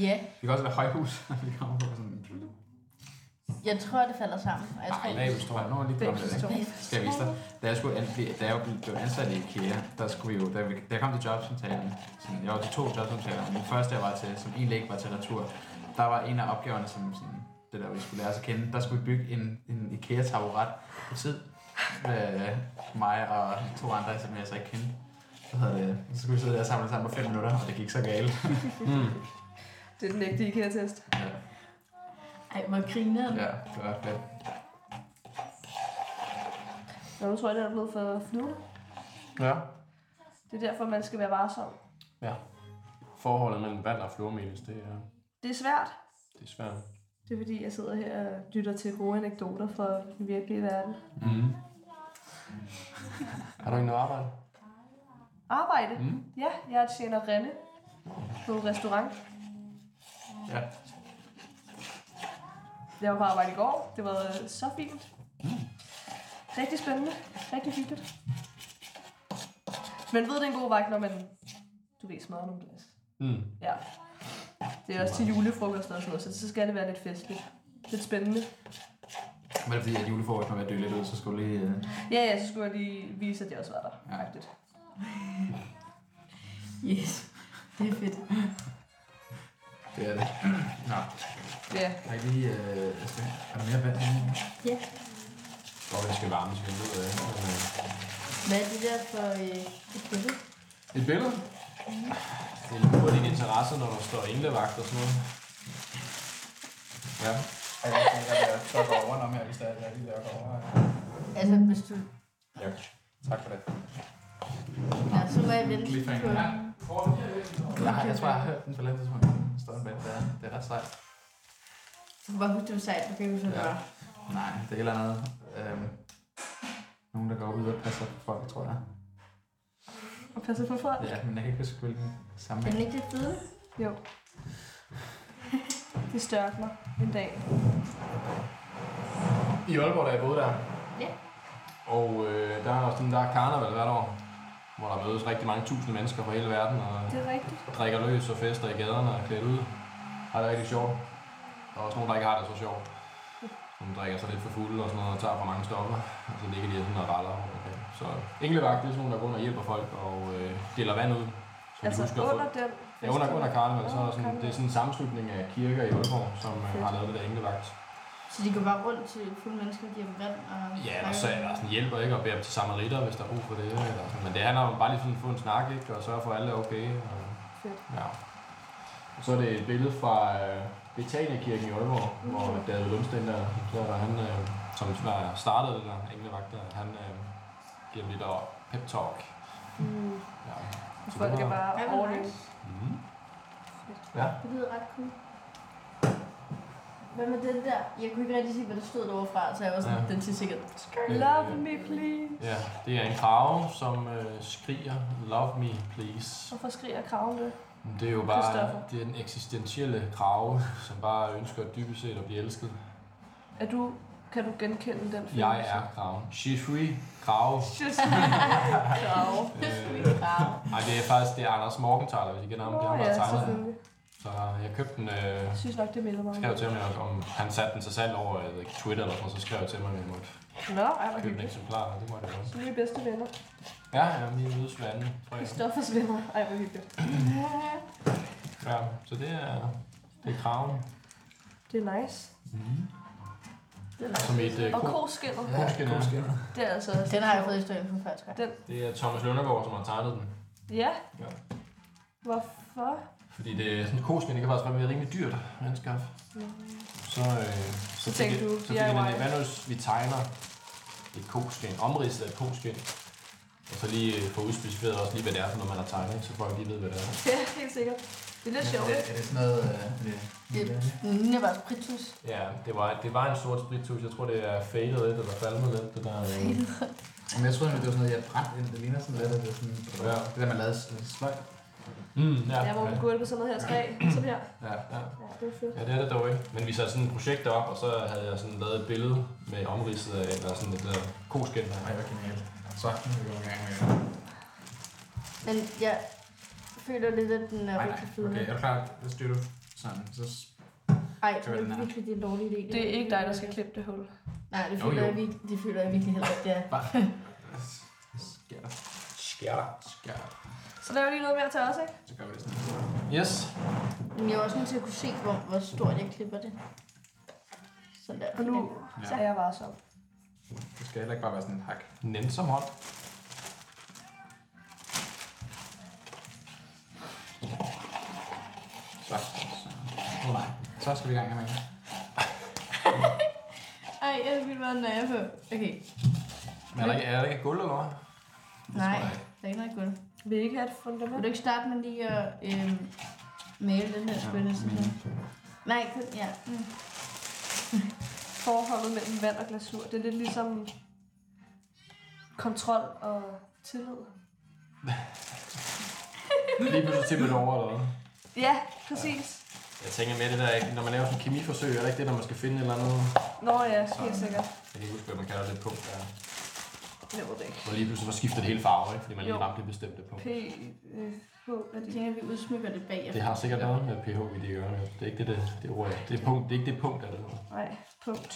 Speaker 5: Ja,
Speaker 4: Vi kan også være højhus. vi kommer på sådan en...
Speaker 5: jeg tror, det falder sammen. og Jeg tror,
Speaker 4: Nej, vi står nu er lige kommet
Speaker 3: Begge
Speaker 4: det.
Speaker 3: to.
Speaker 4: Skal jeg vise dig? Da jeg, skulle an- da jeg blev ansat i IKEA, der skulle vi jo, da, vi, da jeg kom til jobsamtalen, sådan, jeg var til to jobsamtaler, men den første jeg var til, som egentlig ikke var til retur, der var en af opgaverne, som sådan, det der vi skulle lære os at kende, der skulle vi bygge en, en IKEA-taburet på tid med øh, mig og to andre, som jeg så ikke kendte. Hvad hedder det? Så skulle vi sidde der og samle sammen på fem minutter, og det gik så galt.
Speaker 3: Det er den ægte IKEA-test.
Speaker 4: ja.
Speaker 5: Ej, hvor grineren.
Speaker 4: ja, det var fedt.
Speaker 3: Nå, nu tror jeg, det er blevet for flyvende.
Speaker 2: Ja.
Speaker 3: Det er derfor, man skal være varsom.
Speaker 2: Ja. Forholdet mellem vand og flormelis, det er,
Speaker 3: Det er svært.
Speaker 2: det er svært.
Speaker 3: Det er fordi, jeg sidder her og lytter til gode anekdoter fra den virkelige verden.
Speaker 2: Mm. Har du ikke noget arbejde?
Speaker 3: Arbejde?
Speaker 2: Mm.
Speaker 3: Ja, jeg er tjener Renne på en restaurant.
Speaker 4: Ja.
Speaker 3: Jeg var på arbejde i går. Det var øh, så fint. Rigtig spændende. Rigtig hyggeligt. Man ved, det er en god vagt, når man, du ved, smadrer nogle glas.
Speaker 2: Mm.
Speaker 3: Ja. Det er også til julefrokost og sådan noget, så så skal det være lidt festligt. Lidt spændende.
Speaker 4: Men det er fordi, at julefrokosten var ved at dø lidt ud, så skulle jeg lige... Øh,
Speaker 3: Ja, ja, så skulle jeg lige vise, at jeg også var der.
Speaker 4: Ja.
Speaker 3: Ja.
Speaker 5: Yes, det er fedt.
Speaker 4: det er det. Nå.
Speaker 3: Ja,
Speaker 4: Jeg kan lige... Øh, er der mere vand?
Speaker 5: Ja.
Speaker 2: Godt, det skal varme, så vi ved det. Men, øh,
Speaker 5: Hvad er det der for øh, et billede?
Speaker 2: Et billede? Det er lidt på din interesse, når der står englevagt og sådan noget. Ja.
Speaker 4: Jeg kan tænke, at jeg så går over, når jeg hvis der er lige der går over.
Speaker 5: Altså, hvis du...
Speaker 4: Ja, tak for det.
Speaker 5: Ja, så må jeg vente på...
Speaker 4: Cliffhanger. Jeg, har, jeg tror, jeg har hørt den på et eller andet tidspunkt. Den Står den bag, det er, det er ret sejt.
Speaker 5: Så bare husk, det var sejt, okay, hvis det
Speaker 4: Ja.
Speaker 5: var.
Speaker 4: Nej, det er et eller andet. Øhm, nogen, der går ud og passer på folk, tror jeg.
Speaker 3: og passe på folk.
Speaker 4: Ja, men jeg kan ikke huske, hvilken
Speaker 5: Er
Speaker 4: sammenhæng.
Speaker 5: den ikke lidt fede?
Speaker 3: Jo. Det størkner mig en dag.
Speaker 2: I Aalborg, der er både der.
Speaker 5: Ja.
Speaker 2: Og øh, der er også den der karneval hvert år, hvor der mødes rigtig mange tusind mennesker fra hele verden og
Speaker 3: Det er rigtigt.
Speaker 2: drikker løs og fester i gaderne og klæder ud. Har det rigtig sjovt. Der er også nogen, der ikke har det så sjovt. Som drikker sig lidt for fulde og sådan noget, og tager for mange stoffer. Og så ligger de og sådan og raller. Okay. Så englevagt, det er sådan nogen, der går under og hjælper folk og øh, deler vand ud. Så
Speaker 3: Altså
Speaker 2: få.
Speaker 3: under den
Speaker 2: Ja, under, under karneval, så er der
Speaker 3: Under
Speaker 2: sådan,
Speaker 3: karneval.
Speaker 2: det er sådan en sammenslutning af kirker i Aalborg, som øh,
Speaker 3: Fedt.
Speaker 2: har lavet det der englevagt.
Speaker 5: Så de går bare rundt til fulde mennesker og giver dem vand og...
Speaker 2: Ja, og så er der sådan hjælper, ikke? Og beder dem til samaritter, hvis der er brug for det, eller sådan. Men det handler om bare lige sådan at få en snak, ikke? Og sørge for, at alle er okay. Og,
Speaker 3: Fedt.
Speaker 2: ja. Og så er det et billede fra øh, Betaniakirken i Aalborg, mm. hvor David Lundsten der, der han, øh, som der startede det der englevagt, der, han øh, giver dem lidt der pep talk.
Speaker 3: Mm.
Speaker 2: Ja.
Speaker 3: Så folk kan bare
Speaker 5: Ej, hvor
Speaker 3: overleve.
Speaker 5: nice.
Speaker 2: Mm.
Speaker 5: Det lyder ret cool. Hvad med den der? Jeg kunne ikke rigtig se, hvad der stod derovre fra, så jeg var sådan,
Speaker 2: Ja.
Speaker 5: ja. den til sikkert.
Speaker 3: Love me, please.
Speaker 2: Ja, det er en krave, som øh, skriger, love me, please.
Speaker 3: Hvorfor skriger kraven det?
Speaker 2: Det er jo bare
Speaker 3: Christoffer.
Speaker 2: det er den eksistentielle krave, som bare ønsker dybest set at blive elsket.
Speaker 3: Er du, kan du genkende den film?
Speaker 2: Jeg er kraven. She's free, krave.
Speaker 3: Just krav.
Speaker 2: Øh,
Speaker 5: Wow.
Speaker 2: nej, det er faktisk det er Anders Morgenthaler, hvis I kender ham. Det er
Speaker 3: Nå
Speaker 2: ham, der
Speaker 3: ja,
Speaker 2: har tegnet den.
Speaker 3: selvfølgelig.
Speaker 2: Så jeg købte den, øh,
Speaker 3: Jeg synes nok, det minder mig om
Speaker 2: skrev
Speaker 3: det.
Speaker 2: til ham, om- om han satte den sig selv over jeg ved ikke, Twitter eller sådan noget, så skrev jeg til mig, at jeg måtte
Speaker 3: Nå, ej, hvor
Speaker 2: købe en
Speaker 3: hyggeligt.
Speaker 2: eksemplar, og det måtte jeg også.
Speaker 3: Så nye bedste venner.
Speaker 2: Ja, ja, min mødes hver anden, tror jeg.
Speaker 3: Christoffers venner. Ej, hvor hyggeligt.
Speaker 2: Ja, så det er, det er kraven.
Speaker 3: Det er nice.
Speaker 2: Som et øh,
Speaker 3: Og
Speaker 2: ko-
Speaker 3: koskinnet.
Speaker 2: koskin er.
Speaker 3: Det er altså også
Speaker 5: Den har jeg fået i støjen på før, tror jeg.
Speaker 2: Det er Thomas Lønnergaard, som har tegnet den.
Speaker 3: Ja.
Speaker 2: Ja.
Speaker 3: Hvorfor Hvorfor?
Speaker 2: Fordi det er sådan kosmisk, det kan faktisk være rimelig dyrt at anskaffe. Så, øh, så,
Speaker 3: tænkte
Speaker 2: fik jeg-
Speaker 3: du,
Speaker 2: så fik jeg
Speaker 3: DIY.
Speaker 2: den, hvad nu hvis vi tegner et koskin, omridset af et koskin, og så lige øh, få udspecificeret også lige, hvad det er for, når man har tegnet, så folk lige ved, hvad det er.
Speaker 3: Ja, helt sikkert. Det er lidt sjovt.
Speaker 4: Er,
Speaker 3: ikke?
Speaker 4: er det sådan noget... Øh, øh,
Speaker 5: Det ligner bare spritus.
Speaker 2: Ja, det var, det var en sort spritus. Jeg tror, det er fadet lidt, eller falmet lidt, det der. Øh,
Speaker 4: men jeg troede, egentlig, det var sådan noget, jeg brændte ind. Det ligner sådan lidt, at det, er sådan,
Speaker 2: Ja.
Speaker 4: det der, man lavede s- sløjt.
Speaker 2: mm, ja,
Speaker 3: Ja, hvor man
Speaker 2: ja,
Speaker 3: kunne på sådan noget her træ. Sådan her.
Speaker 4: Ja.
Speaker 2: ja.
Speaker 3: Ja, det er fedt.
Speaker 2: Ja, det er det dog ikke. Men vi satte sådan et projekt op, og så havde jeg sådan lavet et billede med omridset af, eller sådan et øh, der koskin her.
Speaker 4: Ej, hvor genialt. Så, nu er vi i gang med
Speaker 5: Men jeg føler lidt, at den er
Speaker 4: Nej,
Speaker 5: rigtig
Speaker 4: nej.
Speaker 5: fed.
Speaker 4: Okay, er du klar? Hvad styrer du? Sådan, så... s-
Speaker 5: Ej,
Speaker 4: Så er
Speaker 5: det
Speaker 4: den
Speaker 5: er
Speaker 4: her.
Speaker 5: virkelig det er en dårlig idé.
Speaker 3: Det er ikke dig, der skal klippe det hul.
Speaker 5: Nej, det
Speaker 4: Jo,
Speaker 5: føler,
Speaker 4: jo.
Speaker 5: Jeg, virkelig, det føler jeg virkelig heller ikke, det er.
Speaker 4: Bare... Sker der?
Speaker 2: Sker der.
Speaker 4: Sker der?
Speaker 3: Så laver lige noget mere til os, ikke?
Speaker 4: Så gør vi det sådan.
Speaker 2: Yes.
Speaker 5: Men jeg er også nødt til at kunne se, hvor, hvor stort jeg klipper det. Sådan der.
Speaker 3: Og nu så er jeg varsom.
Speaker 4: Det skal heller ikke bare være sådan en hak.
Speaker 2: Nemt som hånd.
Speaker 4: Så. så. Oh, nej. Så skal vi i gang med det.
Speaker 5: Ej, jeg vil bare, når jeg er på. Okay.
Speaker 2: Men er der ikke, er der ikke guld eller hvad?
Speaker 5: Nej,
Speaker 4: jeg ikke.
Speaker 5: der er ikke noget guld.
Speaker 3: Vil I ikke have et
Speaker 5: Vil
Speaker 3: fundament?
Speaker 5: du ikke starte med lige at øh, male den her spætte? sådan her? Nej, kun, ja. Mm.
Speaker 3: Forholdet mellem vand og glasur, det er lidt ligesom kontrol og tillid.
Speaker 2: Lige pludselig tippet over eller hvad?
Speaker 3: Ja, præcis.
Speaker 2: Jeg tænker mere det der, ikke? når man laver sådan en kemiforsøg, er det ikke det, når man skal finde et eller andet?
Speaker 3: Nå ja, helt sikkert.
Speaker 2: Jeg kan ikke huske, hvad man kalder det punkt der.
Speaker 3: Jeg ved det ikke.
Speaker 2: Hvor lige pludselig så skifter det hele farve, ikke? Fordi man lige
Speaker 3: Jo.
Speaker 2: ramte det bestemte punkt.
Speaker 3: P, øh, H, hvad er
Speaker 5: Jeg
Speaker 3: det?
Speaker 5: tænker, at vi udsmykker det bagefter.
Speaker 2: Det har sikkert noget med pH i det ørerne. Det er ikke det, det, det ord. Det er, punkt, det er ikke det punkt, der er det. ord.
Speaker 3: Nej, punkt.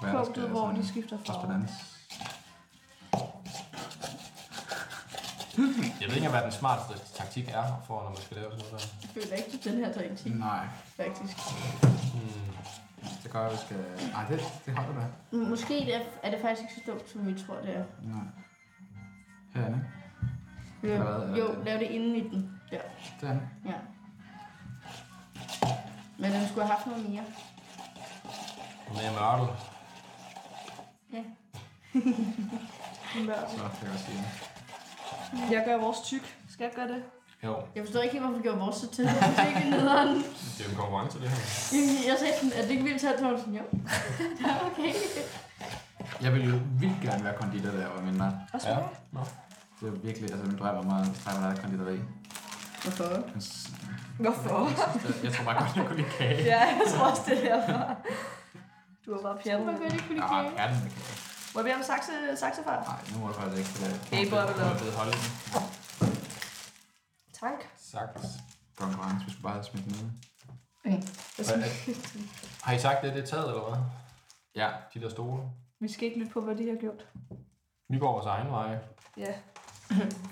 Speaker 4: Hvad er der
Speaker 3: Punktet,
Speaker 4: skal-
Speaker 3: hvor
Speaker 4: sådan-
Speaker 3: de skifter
Speaker 4: Også på
Speaker 3: farve.
Speaker 4: dans.
Speaker 2: Jeg ved ikke, engang, hvad den smarteste taktik er for, når man skal lave sådan noget der.
Speaker 5: Jeg føler ikke, at den her taktik,
Speaker 4: Nej.
Speaker 5: faktisk.
Speaker 2: Hmm.
Speaker 4: Det gør, at vi skal... Nej, det, det holder da.
Speaker 5: Mm, Måske det er, er det faktisk ikke så dumt, som vi tror, det er.
Speaker 4: Nej. Herinde, ikke?
Speaker 5: Jo,
Speaker 4: Eller hvad, eller
Speaker 5: jo
Speaker 4: det-
Speaker 5: lav det inden i den. Ja.
Speaker 4: Derinde.
Speaker 5: ja. Men den skulle have haft noget mere.
Speaker 2: Og mere mørtel.
Speaker 5: Ja.
Speaker 4: Så kan jeg også sige det.
Speaker 3: Jeg gør vores tyk. Skal jeg gøre det?
Speaker 2: Jo,
Speaker 5: Jeg forstår ikke helt, hvorfor vi gjorde vores så tæt. Det er ikke nederen.
Speaker 2: det er jo en konkurrence, det her.
Speaker 5: Jeg- Jeg sagde sådan, at det ikke vildt tæt, Thomsen. Jo. Det er okay.
Speaker 4: Jeg ville jo vildt gerne være konditor, da jeg var mindre.
Speaker 3: Og smage? Ja.
Speaker 2: Nå.
Speaker 4: Det var virkelig, altså min drøm var meget, at der var konditori.
Speaker 5: Hvorfor?
Speaker 4: Jeg s-
Speaker 3: Hvorfor?
Speaker 4: Jeg tror bare godt, jeg kunne lide kage.
Speaker 3: Ja, jeg tror også, det er derfor. Du har bare pjattet.
Speaker 5: Hvorfor det kunne
Speaker 4: Ja,
Speaker 5: de
Speaker 3: Ah.
Speaker 5: kage?
Speaker 4: er den med kage?
Speaker 3: Må jeg bede om sakse, saksefart?
Speaker 4: Nej, nu må du faktisk ikke. Det
Speaker 3: Hey, Bob, eller-
Speaker 4: Det holde den.
Speaker 3: Tak.
Speaker 2: Sagt.
Speaker 4: Konkurrence, vi skulle bare have smidt den ud.
Speaker 5: Okay.
Speaker 2: Har I sagt det, det er taget, eller hvad?
Speaker 4: Ja,
Speaker 2: De der store.
Speaker 3: Vi skal ikke lytte på, hvad de har gjort.
Speaker 2: Vi går vores egen vej,
Speaker 3: Ja.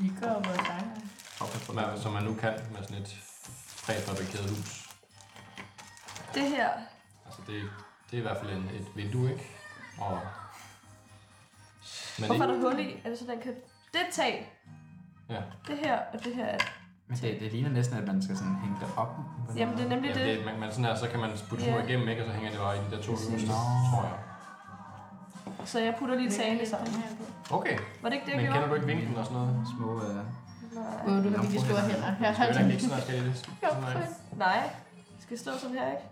Speaker 5: Vi går vores egen vej.
Speaker 4: og pas på
Speaker 2: som
Speaker 4: det.
Speaker 2: man, som man nu kan med sådan et præfabrikeret hus.
Speaker 3: Det her,
Speaker 2: Altså det, det er i hvert fald en, et vindue, ikke? Og, men
Speaker 3: hvorfor er
Speaker 2: det,
Speaker 3: der hul i? Er det så, den kan... Det er et tag.
Speaker 2: Ja.
Speaker 3: Det her, og det her er...
Speaker 4: Men det, det ligner næsten, at man skal sådan hænge det op. på den
Speaker 3: Jamen, det
Speaker 4: måde.
Speaker 3: er nemlig
Speaker 2: ja,
Speaker 3: det.
Speaker 2: det, man, man sådan her, så kan man putte yeah.
Speaker 3: Ja.
Speaker 2: igennem, ikke? Og så hænger det bare i de der to øverste,
Speaker 4: Nå.
Speaker 2: tror jeg.
Speaker 3: Så jeg putter lige tagene sammen.
Speaker 5: Den her på.
Speaker 2: Okay,
Speaker 3: Var det ikke det, jeg
Speaker 2: men kender
Speaker 3: gjorde?
Speaker 2: du ikke vinklen og sådan noget?
Speaker 4: Små, øh,
Speaker 3: Nej.
Speaker 5: Åh, du har virkelig store hænder. Her
Speaker 2: Det
Speaker 5: har
Speaker 2: er
Speaker 5: du
Speaker 2: jo ikke sådan, at skal i det. Sådan her. ikke?
Speaker 3: Nej. Det skal stå sådan her, ikke?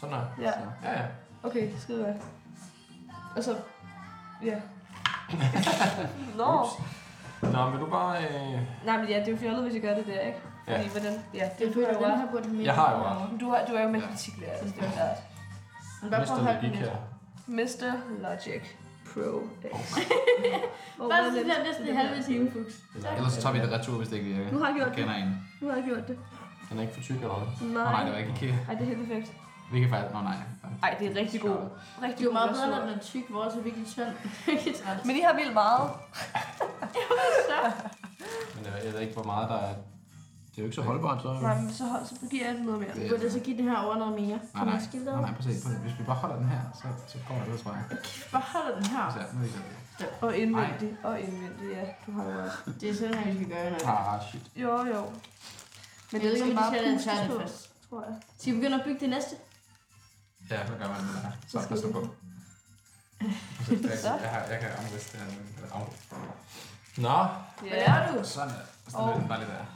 Speaker 2: Sådan her.
Speaker 3: Ja.
Speaker 2: Ja, ja.
Speaker 3: Okay, skide godt. Og så... Ja. Nå.
Speaker 2: Nå, men vil du bare... Øh...
Speaker 3: Nej, men ja, det er jo fjollet, hvis jeg gør det der, ikke? Fordi
Speaker 2: Ja.
Speaker 3: hvordan... Ja,
Speaker 5: Jeg
Speaker 3: det
Speaker 5: føler,
Speaker 3: føler jeg jo
Speaker 5: den
Speaker 3: bare.
Speaker 5: her burde mere.
Speaker 2: Jeg har jo ret.
Speaker 5: også.
Speaker 3: Du, har, du er jo matematiklærer, så det er jo klart.
Speaker 5: Men bare prøv
Speaker 2: Mr.
Speaker 5: at holde den
Speaker 2: Logik
Speaker 5: lidt.
Speaker 2: her.
Speaker 3: Mr. Logic Pro X. Hvor
Speaker 5: Bare
Speaker 3: var
Speaker 5: sådan
Speaker 3: det?
Speaker 5: her næsten en halve time, Fuchs.
Speaker 4: Ellers så tager vi det retur, hvis det ikke virker.
Speaker 3: Nu har jeg gjort
Speaker 4: Jeg kender en.
Speaker 3: Nu har jeg gjort det.
Speaker 2: Den er ikke for tyk eller hvad?
Speaker 4: Nå,
Speaker 3: Nej.
Speaker 4: nej, det var ikke IKEA.
Speaker 3: Ej, det er helt perfekt.
Speaker 4: Vi kan faktisk... Nå, nej.
Speaker 3: Ej, det er rigtig god.
Speaker 5: Det
Speaker 3: Rigtig
Speaker 5: er jo
Speaker 3: god
Speaker 5: meget bedre,
Speaker 3: glasur.
Speaker 5: når den er tyk, hvor også er virkelig tynd. Virkelig træt.
Speaker 3: Men I har vildt meget.
Speaker 5: så
Speaker 2: Men jeg, jeg ved ikke, hvor meget der er
Speaker 4: Det er jo ikke så holdbart, så...
Speaker 3: Nej, men så, hold- så giver jeg den noget mere.
Speaker 4: Det-
Speaker 5: Burde jeg så give den her over noget mere?
Speaker 4: Nej,
Speaker 5: Kan
Speaker 4: nej.
Speaker 5: man skille
Speaker 4: Nej,
Speaker 5: det?
Speaker 4: nej, prøv at se. Prøv at se. Hvis vi bare holder den her, så, så går det ellers vej.
Speaker 5: Bare holder den her.
Speaker 4: Så, nu er det sådan.
Speaker 3: Og indvendig. Og indvendig, ja. Du har jo også.
Speaker 5: Det er sådan her, vi skal gøre det.
Speaker 4: Ah, shit.
Speaker 3: Jo, jo. Men
Speaker 5: Jeg ved
Speaker 3: det skal
Speaker 5: ikke, om vi
Speaker 3: bare
Speaker 5: skal lade den
Speaker 3: pustes
Speaker 5: tage det
Speaker 3: på,
Speaker 5: først.
Speaker 3: tror jeg.
Speaker 5: Skal vi begynde at bygge det næste?
Speaker 4: Ja, hvad gør man med det her? Så
Speaker 3: skal
Speaker 4: pas nu
Speaker 3: vi-
Speaker 4: på. Jeg, jeg, har, jeg kan omriste det her. nu. Eller af.
Speaker 2: Nå,
Speaker 5: Hvad laver du?
Speaker 4: Sådan der. Så lader den bare lidt af.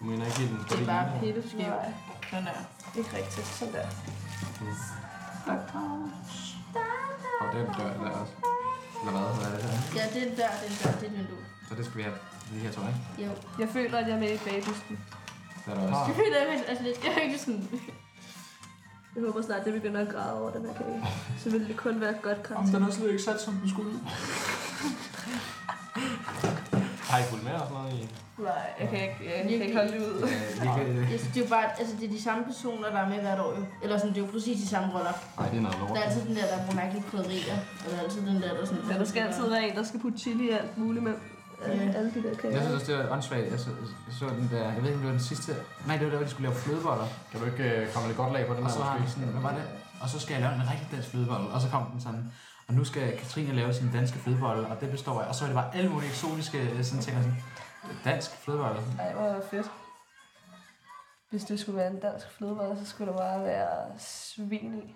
Speaker 2: du mener ikke i den
Speaker 5: Det er bare
Speaker 2: på
Speaker 5: pille skæv.
Speaker 3: Nej,
Speaker 5: Sådan der.
Speaker 3: ikke rigtigt. Sådan der.
Speaker 4: Og den dør der også. Eller hvad? Hvad er det her?
Speaker 5: Ja, det er en dør, det er en dør, det er et vindue.
Speaker 4: Så det skal vi have lige her, tror jeg. ikke?
Speaker 5: Jo.
Speaker 3: Jeg føler, at jeg er med i bagbusken.
Speaker 4: Der er der også.
Speaker 5: Det føler jeg faktisk også lidt. Jeg er ikke sådan...
Speaker 3: Jeg håber snart, det begynder at græde over den her kage. Så ville det kun være et godt
Speaker 4: Om den er slet ikke sat, som den skulle.
Speaker 2: Har I fulgt med og sådan noget i?
Speaker 3: Nej, jeg kan ikke, jeg kan ikke holde det ud.
Speaker 4: Øh, vi kan...
Speaker 5: Jeg synes, det er jo bare... Altså, det er de samme personer, der er med hvert år jo. Eller sådan, det er jo præcis de samme roller.
Speaker 2: Nej, det er noget
Speaker 5: Der er
Speaker 2: lort.
Speaker 5: altid den der, der bruger mærkelige krydderier. Og der er altid den der, der sådan...
Speaker 3: Ja, der skal altid være en, der skal putte chili i alt muligt med
Speaker 5: Ja.
Speaker 3: alle de der
Speaker 4: Jeg synes
Speaker 3: kager.
Speaker 4: også, det var åndssvagt. Jeg så, jeg så den der... Jeg ved ikke, om det var den sidste... Nej, det var der, hvor de skulle lave flødeboller.
Speaker 2: Kan du ikke øh, komme lidt godt lag på den
Speaker 4: Og
Speaker 2: her?
Speaker 4: så var han
Speaker 2: måske?
Speaker 4: sådan, hvad var det? Og så skal jeg lave en rigtig dansk flødebolle. Og så kom den sådan, og nu skal Katrine lave sin danske flødebolle, og det består af. Og så er det bare alle mulige eksotiske øh, sådan ting. og Sådan, dansk flødebolle.
Speaker 3: Ej, hvor er det fedt. Hvis det skulle være en dansk flødebolle, så skulle der bare være svin i.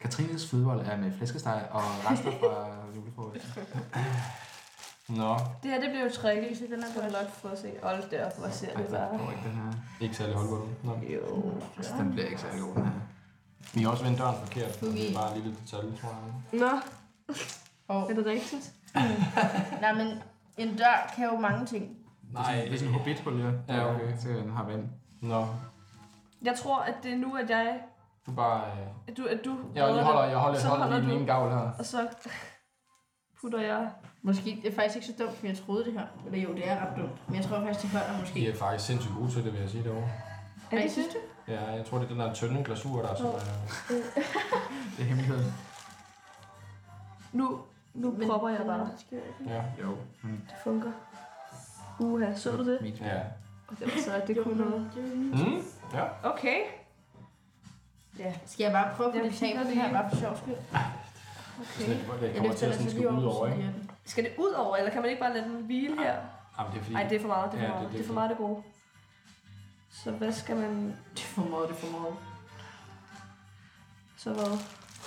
Speaker 4: Katrines flødebolle er med flæskesteg og rester fra julefrokost.
Speaker 2: Nå,
Speaker 3: Det her, det bliver jo tricky, så den er godt nok for at se. Hold der, hvor ser
Speaker 4: Ej,
Speaker 3: det
Speaker 4: det
Speaker 3: bare.
Speaker 4: går ikke, den her.
Speaker 2: ikke særlig holdbar. Nå.
Speaker 3: Jo.
Speaker 4: Altså, den bliver ikke særlig god, den her.
Speaker 2: Vi har også vendt døren forkert.
Speaker 5: Nu er
Speaker 2: Det
Speaker 5: vi-
Speaker 2: er bare en lille detalje, tror jeg.
Speaker 3: Nå,
Speaker 5: Og,
Speaker 3: er det rigtigt?
Speaker 5: nej, men en dør kan jo mange ting.
Speaker 4: Nej. Det er sådan en hobbithul, ja.
Speaker 2: Ja, okay.
Speaker 4: Så den har vand.
Speaker 2: Nå,
Speaker 3: Jeg tror, at det er nu, at jeg...
Speaker 2: du bare... Øh,
Speaker 3: At du, at du
Speaker 2: jeg holder, jeg holder,
Speaker 3: Så
Speaker 2: jeg holder
Speaker 3: holder
Speaker 2: lige den
Speaker 3: du.
Speaker 2: ene gavl her.
Speaker 3: Og så putter jeg...
Speaker 5: Måske, det er faktisk ikke så dumt, som jeg troede det her. Eller jo, det er ret dumt. Men jeg tror faktisk, det holder måske.
Speaker 2: De er faktisk sindssygt gode til det, vil jeg sige derovre.
Speaker 5: Er det synes du?
Speaker 2: Ja, jeg tror, det er den der tynde glasur, der er sådan... Øh,
Speaker 4: Det er hemmeligheden.
Speaker 3: Nu, nu
Speaker 5: Men-
Speaker 3: propper jeg bare.
Speaker 2: ja.
Speaker 4: Jo. Mm.
Speaker 3: Det funker. Uha, så du det?
Speaker 4: Min smag.
Speaker 2: Ja.
Speaker 3: Det var så, at det kunne noget.
Speaker 2: Mm, ja.
Speaker 3: Okay.
Speaker 5: Ja. Skal jeg bare prøve på
Speaker 3: Jeg
Speaker 5: det tag
Speaker 3: kigger
Speaker 5: på det
Speaker 3: lige.
Speaker 5: her, bare for sjov skyld?
Speaker 2: Sådan,
Speaker 3: okay.
Speaker 2: at det- det
Speaker 5: Jeg
Speaker 2: kommer til
Speaker 5: løfter
Speaker 2: at
Speaker 5: den
Speaker 2: sådan
Speaker 5: så
Speaker 2: skulle
Speaker 5: lige over
Speaker 2: ud
Speaker 5: på
Speaker 2: over,
Speaker 5: siden
Speaker 2: ikke?
Speaker 5: af den.
Speaker 3: Skal det ud over, eller kan man ikke bare lade den hvile her?
Speaker 2: Jamen, det er fordi...
Speaker 3: Nej, det er for meget. Det er
Speaker 2: Ja,
Speaker 3: for
Speaker 2: det-
Speaker 3: meget.
Speaker 2: det-
Speaker 3: Det er for meget, det gode. Så hvad skal man...
Speaker 5: Det er for meget, det er for meget.
Speaker 3: Så hvad?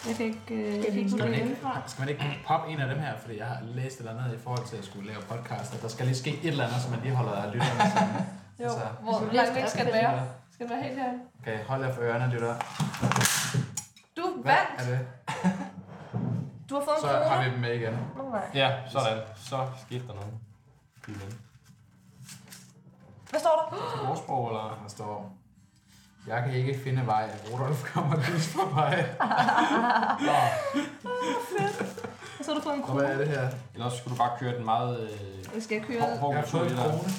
Speaker 3: Jeg kan ikke... Øh, jeg
Speaker 5: Skal
Speaker 3: kan
Speaker 5: vi
Speaker 3: ikke
Speaker 5: putte
Speaker 3: putte
Speaker 5: den
Speaker 3: det
Speaker 5: ind?
Speaker 3: ind.
Speaker 4: Skal man ikke poppe en af dem her, fordi jeg har læst et eller andet i forhold til at skulle lave podcast, at der skal lige ske et eller andet, så man lige holder lytterne sammen.
Speaker 3: Jo,
Speaker 4: Altså,
Speaker 3: hvor
Speaker 5: hvis vi
Speaker 3: langt
Speaker 5: læser
Speaker 3: væk
Speaker 5: op,
Speaker 3: skal
Speaker 5: kan
Speaker 3: det
Speaker 5: det
Speaker 3: være? Skal det være helt her?
Speaker 4: Okay, hold jer for ørerne, lytter.
Speaker 3: Du
Speaker 4: Hvad
Speaker 3: vandt!
Speaker 4: er det?
Speaker 3: Du har fået en
Speaker 4: Så
Speaker 3: krone.
Speaker 4: har vi dem med igen.
Speaker 3: Nå, nej.
Speaker 2: Ja, sådan. Så skete der noget. Lige med.
Speaker 3: Hvad står der?
Speaker 2: Ordsprog, eller...
Speaker 4: Der står, jeg kan ikke finde vej, Rudolf kommer lys på mig. Nå,
Speaker 3: Og så har du fået en
Speaker 4: og hvad
Speaker 3: krone.
Speaker 4: er det her?
Speaker 2: Eller også skulle du bare køre den meget... Øh,
Speaker 3: Jeg skal køre...
Speaker 2: hård, hård
Speaker 4: Jeg har
Speaker 2: glasur,
Speaker 4: fået en
Speaker 2: det der.
Speaker 4: krone.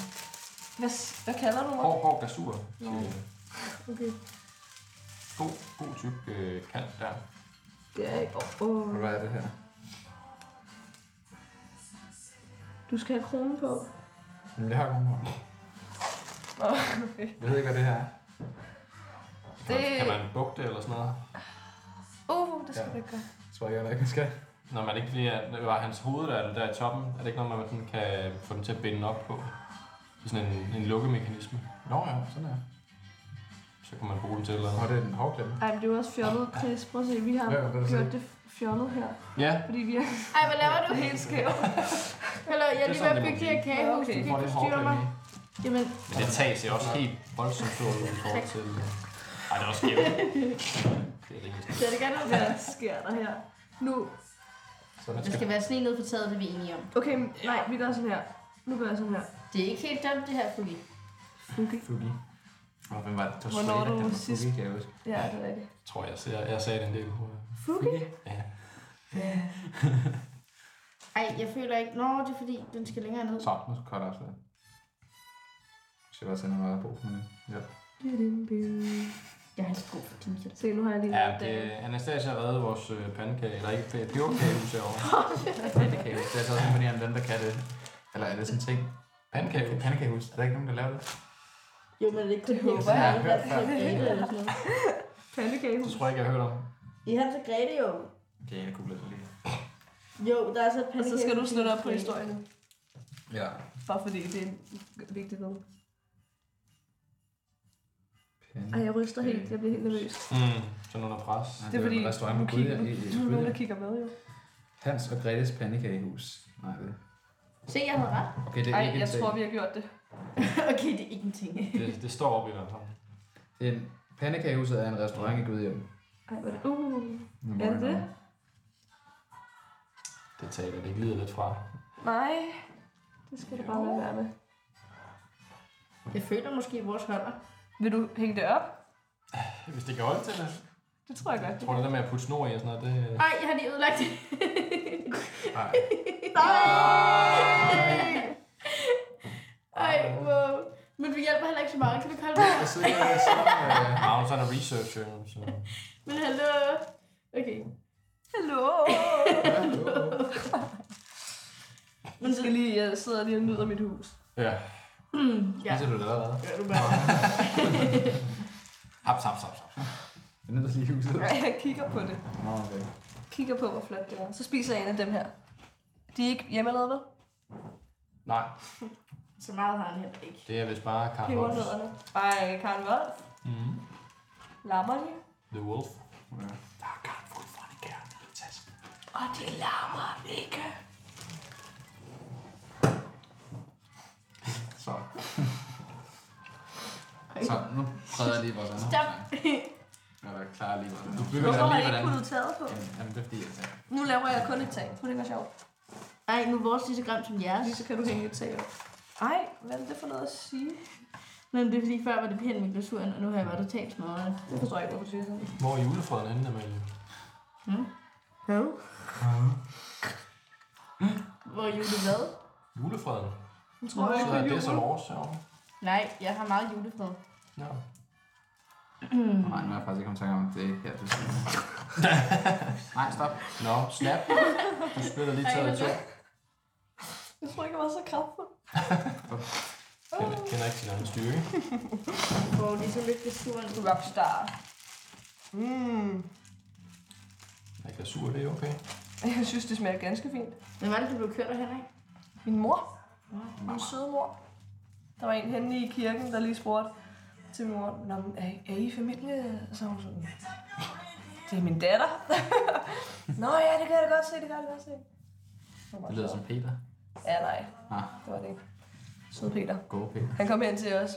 Speaker 3: Hvad, hvad kalder du mig?
Speaker 2: Hård, hård glasur.
Speaker 3: Nå.
Speaker 2: Øh,
Speaker 3: Okay.
Speaker 2: God, god tyk øh, kant der.
Speaker 3: Det er ikke... Åh, åh.
Speaker 4: Og hvad er det her?
Speaker 3: Du skal have kronen på.
Speaker 4: Jamen, det har kun på.
Speaker 3: Nå, okay.
Speaker 4: Jeg ved ikke, hvad det her er.
Speaker 2: Det...
Speaker 3: Det...
Speaker 2: Kan man bugte det eller sådan noget?
Speaker 3: Uh, det skal du ikke gøre.
Speaker 4: Jeg tror jeg heller ikke, man skal.
Speaker 2: Når man ikke lige er, det var hans hoved, der, er- der er i toppen, er det ikke noget, man sådan kan få den til at binde op på? Det er sådan en, en lukkemekanisme.
Speaker 4: Nå ja, sådan her.
Speaker 2: Så kan man bruge den til eller
Speaker 4: Og det er en hårklemme.
Speaker 3: Ej, men det er jo også fjollet, Chris. Prøv at se, vi har
Speaker 4: Hvad- hvad er det, du
Speaker 3: gjort det fjollet her.
Speaker 2: Ja,
Speaker 3: Fordi vi er
Speaker 5: Ej, hvad laver du?
Speaker 3: helt skæve.
Speaker 5: Hallo, jeg er lige ved
Speaker 2: sådan,
Speaker 5: at
Speaker 2: det
Speaker 5: bygge
Speaker 2: må
Speaker 5: det her kagehus,
Speaker 3: Okay.
Speaker 5: du kan
Speaker 4: Du får
Speaker 5: ikke
Speaker 4: lidt
Speaker 5: forstyrre mig.
Speaker 4: hårklemme i.
Speaker 5: Jamen,
Speaker 2: men det tag ser også helt voldsomt stort ud i forhold til... øh, Ej, det er også skævt. det er rimelig skævt.
Speaker 5: så det gerne
Speaker 3: Hvad sker der her? Nu.
Speaker 4: Sådan
Speaker 5: Der
Speaker 4: skal
Speaker 5: skal være sne ned på taget, det er vi enige om.
Speaker 3: Okay, nej, vi gør sådan her. Nu gør jeg sådan her.
Speaker 5: Det er ikke helt dumt, det her, Fugi.
Speaker 3: Okay.
Speaker 4: Fugi. Og hvem var det? Det var
Speaker 3: Hvornår
Speaker 4: Svea,
Speaker 3: var du
Speaker 4: der var
Speaker 3: sidst?
Speaker 4: Fugi, kan jeg huske.
Speaker 3: Ja, det er rigtigt.
Speaker 2: Jeg tror, jeg, ser, jeg sagde det en del. tror jeg.
Speaker 3: Fugi?
Speaker 2: Ja.
Speaker 5: Ej, jeg føler ikke... Nå, det er fordi, den skal længere ned.
Speaker 4: Så, nu skal jeg også være. Så jeg bare sende mig på for det. Ja.
Speaker 5: Jeg har ikke brug for din hjælp.
Speaker 3: Se, nu har jeg lige...
Speaker 2: Ja, det, Anastasia har reddet vores øh, pandekage, eller ikke pe- peberkagehus herovre.
Speaker 4: Det kan jeg huske. Det er så også imponerende, dem der kan det. Eller er det sådan en ting?
Speaker 2: Pandekagehus.
Speaker 4: Pandekagehus. Er der ikke nogen, der laver det?
Speaker 8: Jo, men det kunne
Speaker 3: Det håber
Speaker 8: ikke sådan
Speaker 3: jeg
Speaker 8: her.
Speaker 3: ikke,
Speaker 4: at det
Speaker 8: Hvad
Speaker 4: er.
Speaker 8: er det, eller sådan noget?
Speaker 2: Det
Speaker 3: Pandekagehus.
Speaker 2: tror jeg ikke, jeg har hørt om.
Speaker 8: I Hans og Grete jo.
Speaker 4: Okay, jeg kunne lige.
Speaker 8: Jo, der er så et
Speaker 3: Og så skal du
Speaker 8: pandekagehus i
Speaker 3: slå
Speaker 8: Hans
Speaker 3: op på
Speaker 8: og Grete.
Speaker 3: historien nu.
Speaker 4: Ja.
Speaker 3: Bare fordi det er en vigtig noget. Ej, jeg ryster helt. Jeg bliver helt nervøs.
Speaker 2: Mm. Sådan under pres.
Speaker 3: Det er fordi,
Speaker 4: restaurant
Speaker 3: du,
Speaker 4: med
Speaker 3: kigger,
Speaker 4: krydder i, i,
Speaker 3: du er nogen, der
Speaker 4: krydder.
Speaker 3: kigger med, jo.
Speaker 4: Hans og Gretes pandekagehus. Nej, det
Speaker 5: Se, jeg havde ret.
Speaker 4: Okay, det er
Speaker 3: Ej,
Speaker 4: ikke en
Speaker 3: jeg
Speaker 4: sag.
Speaker 3: tror, vi har gjort det.
Speaker 5: okay, det er ikke en ting.
Speaker 2: Det, det står oppe i hvert fald.
Speaker 4: En, pandekagehuset er en restaurant i Gudhjem.
Speaker 3: Ej, hvor er det. Uh.
Speaker 4: Nå,
Speaker 3: Er det
Speaker 4: nå.
Speaker 3: det?
Speaker 2: Det taler det glider lidt fra.
Speaker 3: Nej. Det skal du bare lade være med.
Speaker 5: Jeg føler måske, at vores holder.
Speaker 3: Vil du hænge det op?
Speaker 2: Hvis det kan holde til det.
Speaker 3: Det tror jeg godt.
Speaker 2: Jeg tror, det der med at putte snor i og sådan noget, det...
Speaker 5: Ej, jeg har lige ødelagt det.
Speaker 4: Nej.
Speaker 5: Ej, wow. Men du hjælper heller ikke så meget. Kan du ikke holde mig?
Speaker 4: Jeg sidder jeg sidder med...
Speaker 2: Magnus han er researcher, jo, så...
Speaker 5: Men hallo. Okay.
Speaker 3: Hallo.
Speaker 5: Men
Speaker 3: Men
Speaker 5: så,
Speaker 3: skal lige, jeg sidder lige og nyder mit hus.
Speaker 2: Ja,
Speaker 5: mm, ja.
Speaker 2: viser du det allerede?
Speaker 5: Gør du bare.
Speaker 2: Haps, haps, haps, haps.
Speaker 4: Jeg nyder lige huset.
Speaker 3: Ej, jeg kigger på det.
Speaker 4: Nå, okay.
Speaker 3: Kigger på, hvor flot det er. Så spiser jeg en af dem her. De er ikke hjemmelavet, vel?
Speaker 2: Nej,
Speaker 5: Så meget har han heller ikke.
Speaker 2: det er vist bare Carl Holmes.
Speaker 3: Pebernødderne. Ej, øh, Karen Wolf.
Speaker 4: Mm-hmm.
Speaker 2: Mm.
Speaker 3: Lammer de?
Speaker 2: The Wolf.
Speaker 4: Ja.
Speaker 2: Der er Carl Wolf fra det gerne i tasken.
Speaker 3: Og de larmer ikke.
Speaker 4: Så. Så, nu prøver jeg lige vores andre.
Speaker 5: Stop.
Speaker 4: Jeg er klar lige hvordan. Du
Speaker 3: Hvorfor har I ikke puttet taget på?
Speaker 4: Jamen, det er fordi, jeg tager.
Speaker 3: Nu laver jeg kun et tag. Tror du, det var sjovt?
Speaker 5: Ej, nu er vores lige så grimt som jeres.
Speaker 3: Lige så kan du hænge et tag op. Ej, hvad er det for noget at sige?
Speaker 5: Men det er fordi, før var det pænt med glasuren, og nu har jeg bare totalt smadret.
Speaker 3: Det forstår jeg ikke, hvorfor du siger sådan.
Speaker 2: Hvor er julefreden henne, Amalie?
Speaker 5: Hvad? Hvor er jule hvad?
Speaker 2: Julefreden?
Speaker 3: Jeg tror jeg
Speaker 2: Så
Speaker 3: ikke,
Speaker 2: er
Speaker 3: det
Speaker 2: det som vores, ja.
Speaker 5: Nej, jeg har meget julefred.
Speaker 2: ja.
Speaker 4: Nej, nu er jeg faktisk ikke kommet i tanke om, at det er ikke her, du skal. Nej, stop.
Speaker 2: Nå, snap. Du spiller lige taget i to.
Speaker 3: Jeg tror ikke, jeg var så kraftfuld. Uh,
Speaker 2: Kender, kender ikke sin egen styrke.
Speaker 5: Hvor er lige så lidt glasuren.
Speaker 3: Rockstar. Mm.
Speaker 2: Jeg kan sur, det er okay.
Speaker 3: Jeg synes, det smager ganske fint.
Speaker 5: Men var det, du blev kørt derhen, ikke?
Speaker 3: Min mor. Min søde mor. Der var en henne i kirken, der lige spurgte til min mor, Nå, men er, I- er I familie? Så hun sådan, det er min datter. Nå ja, det kan jeg da godt se, det kan jeg da godt se. Jeg var
Speaker 4: Det lyder
Speaker 3: sådan,
Speaker 4: som Peter.
Speaker 3: Ja, nej,
Speaker 4: Ah,
Speaker 3: det var det ikke. Søde Peter.
Speaker 4: gode Peter.
Speaker 3: Han kom hen til os.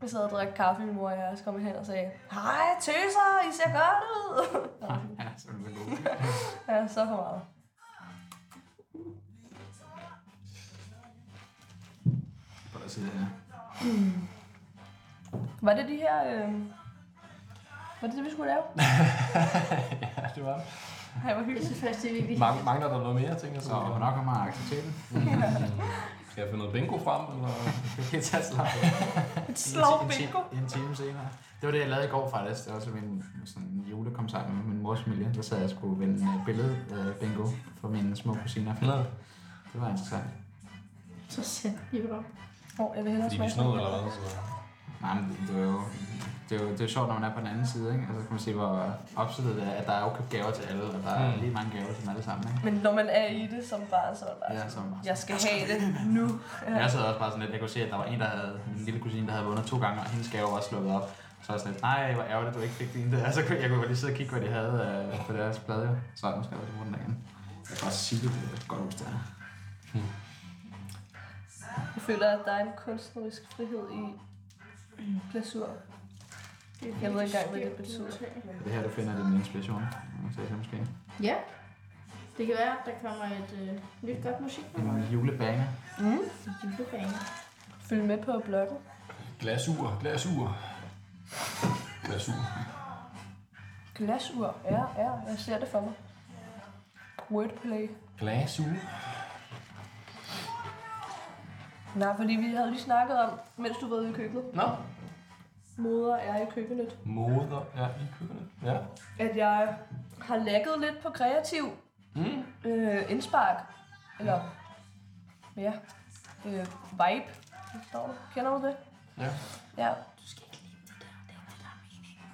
Speaker 3: Vi sad og drak kaffe, min mor og jeg, og så kom han hen og sagde, Hej, tøser, I ser godt ud.
Speaker 4: Ja, så er det gode.
Speaker 3: ja, så for meget.
Speaker 4: På der side her.
Speaker 3: Var det de her... Øh... Var det det, vi skulle lave?
Speaker 2: Ja, det var det.
Speaker 3: Ej, hvor
Speaker 5: Jeg
Speaker 3: hyggeligt.
Speaker 5: synes faktisk, det er virkelig.
Speaker 2: Mang- Mangler der noget mere, tænker jeg
Speaker 4: Så nok om at acceptere det.
Speaker 2: Skal jeg finde noget bingo frem, eller?
Speaker 4: Det tager så langt.
Speaker 3: Et slag
Speaker 4: En ti- en ti-
Speaker 3: bingo.
Speaker 4: En time senere. Det var det, jeg lavede i går faktisk. Det var også min sådan, en julekommentar med min mors familie. Der sad jeg og skulle vende øh, billede øh, bingo for mine små kusiner.
Speaker 2: Nå.
Speaker 4: Det var interessant.
Speaker 5: Så sæt lige op.
Speaker 3: Åh, jeg vil hellere
Speaker 2: Fordi vi
Speaker 3: smage
Speaker 2: snød, eller hvad? Så.
Speaker 4: Nej, men det, det var jo... Det er, jo, det er jo sjovt, når man er på den anden side, ikke? Altså, kan man se, hvor opsættet det er, at der er jo gaver til alle, og der er
Speaker 2: Mm.
Speaker 4: lige mange gaver til dem alle sammen, ikke?
Speaker 3: Men når man er i det som barn, så er det bare
Speaker 4: Ja,
Speaker 3: ja.
Speaker 4: så
Speaker 3: jeg skal have det nu. Ja.
Speaker 4: Jeg sad også bare sådan lidt, jeg kunne se, at der var en, der havde, min lille kusine, der havde vundet to gange, og hendes gave var slukket op. Så var jeg sådan lidt, nej, hvor ærgerligt, du ikke fik din der. Så kunne jeg kunne bare lige sidde og kigge, hvad de havde øh, på deres plade. jo. Så nu skal jeg også bruge den der igen. Jeg kan også sige, det er et godt hus, der er.
Speaker 3: Jeg føler, at der er en kunstnerisk frihed i glasur. Jeg ved ikke engang, hvad det betyder.
Speaker 4: Det her, du finder din inspiration. Så jeg måske
Speaker 5: Ja. Det kan være, at der kommer et øh, nyt godt musik.
Speaker 4: en julebanger.
Speaker 3: Mm.
Speaker 5: Julebane.
Speaker 3: Følg med på bloggen.
Speaker 2: Glasur, glasur. Glasur.
Speaker 3: Glasur. Ja, ja, jeg ser det for mig. Wordplay.
Speaker 2: Glasur.
Speaker 3: Nej, fordi vi havde lige snakket om, mens du var ude i køkkenet,
Speaker 2: Nå.
Speaker 3: moder er i køkkenet,
Speaker 2: Moder er i køkkenet. Ja.
Speaker 3: at jeg har lagget lidt på kreativ
Speaker 2: Mm.
Speaker 3: øh, indspark. Eller, ja, øh, vibe. Står der. Kender du det?
Speaker 2: Ja.
Speaker 3: Ja.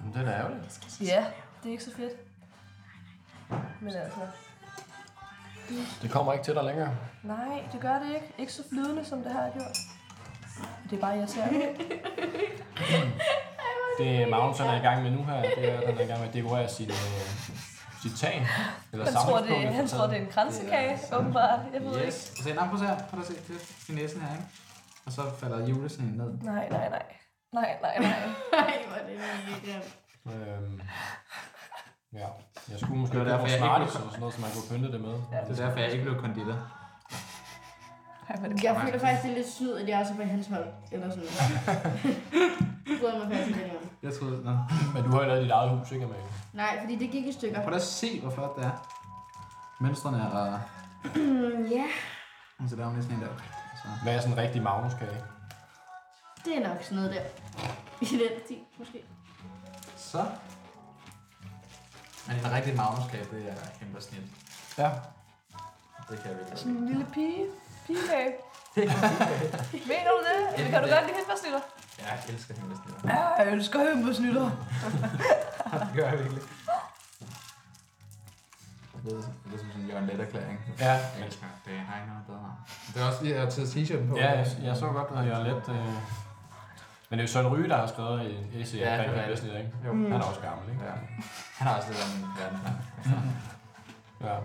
Speaker 2: Men det er da ærgerligt.
Speaker 3: Ja, det er ikke så fedt. Men altså,
Speaker 2: Det kommer ikke til dig længere.
Speaker 3: nej, det gør det ikke. Ikke så flydende, som det her har gjort. Det er bare, jeg ser det.
Speaker 2: Det Magnus han er i gang med nu her, det er, at han er i gang med at dekorere sit, øh, sit tag. Eller
Speaker 3: Han tror, det, han tror, det er en kransekage, åbenbart. Jeg ved
Speaker 4: Yes.
Speaker 3: ikke.
Speaker 4: Så en prøv at se her. Prøv at se det i næsen her, ikke? Og så falder julesneen ned.
Speaker 3: Nej, nej, nej. Nej, nej, nej.
Speaker 5: Nej, hvor er det virkelig grimt.
Speaker 2: Øhm, ja. Jeg skulle måske
Speaker 4: Det var
Speaker 2: have
Speaker 4: derfor,
Speaker 2: noget
Speaker 4: jeg ikke
Speaker 2: snarligt
Speaker 4: kunne-
Speaker 2: eller sådan noget, så man kunne pynte det med. Ja.
Speaker 4: Det er derfor, jeg ikke blev konditor.
Speaker 3: Ej, hvor er det
Speaker 5: Jeg føler faktisk, det er lidt snyd, at jeg også er på hans hold. Eller sådan noget. Det bryder mig faktisk ikke om.
Speaker 4: Jeg troede, nå.
Speaker 2: Men du har jo lavet dit eget hus, ikke, Amalie?
Speaker 5: Nej, fordi det gik i stykker.
Speaker 4: Prøv da at se, hvor flot det er. Mønstrene er rare.
Speaker 5: Mm, ja,
Speaker 4: Så der er jo næsten en der. Så.
Speaker 2: Hvad er sådan en rigtig Magnus-kage?
Speaker 5: det er nok sådan noget der. I den tid, måske.
Speaker 4: så. Men en rigtig magnuskab, det er kæmpe snit.
Speaker 2: Ja.
Speaker 4: Det kan vi ikke.
Speaker 3: Sådan en lille pige. Pigekage. Mener du det? Eller kan du godt lide hindbærsnitter?
Speaker 4: Ja, jeg elsker kæmpe snit.
Speaker 3: Ja, jeg elsker hindbærsnitter.
Speaker 4: Det gør jeg virkelig. Det er, det er som sådan en Jørgen Let-erklæring.
Speaker 2: Ja.
Speaker 4: Jeg elsker det. Jeg har ikke noget bedre. Det er også lige, at jeg har taget t-shirten på.
Speaker 2: Ja, jeg, jeg så godt, at jeg er lidt... Øh... Men det er jo Søren Ryge, der har skrevet en essay
Speaker 4: Ja,
Speaker 2: ja, omkring
Speaker 4: det er
Speaker 2: det,
Speaker 4: rigtigt.
Speaker 2: ikke?
Speaker 4: Jo.
Speaker 2: Han er også gammel, ikke?
Speaker 4: Ja. Han har også lidt om verden.
Speaker 2: Ja.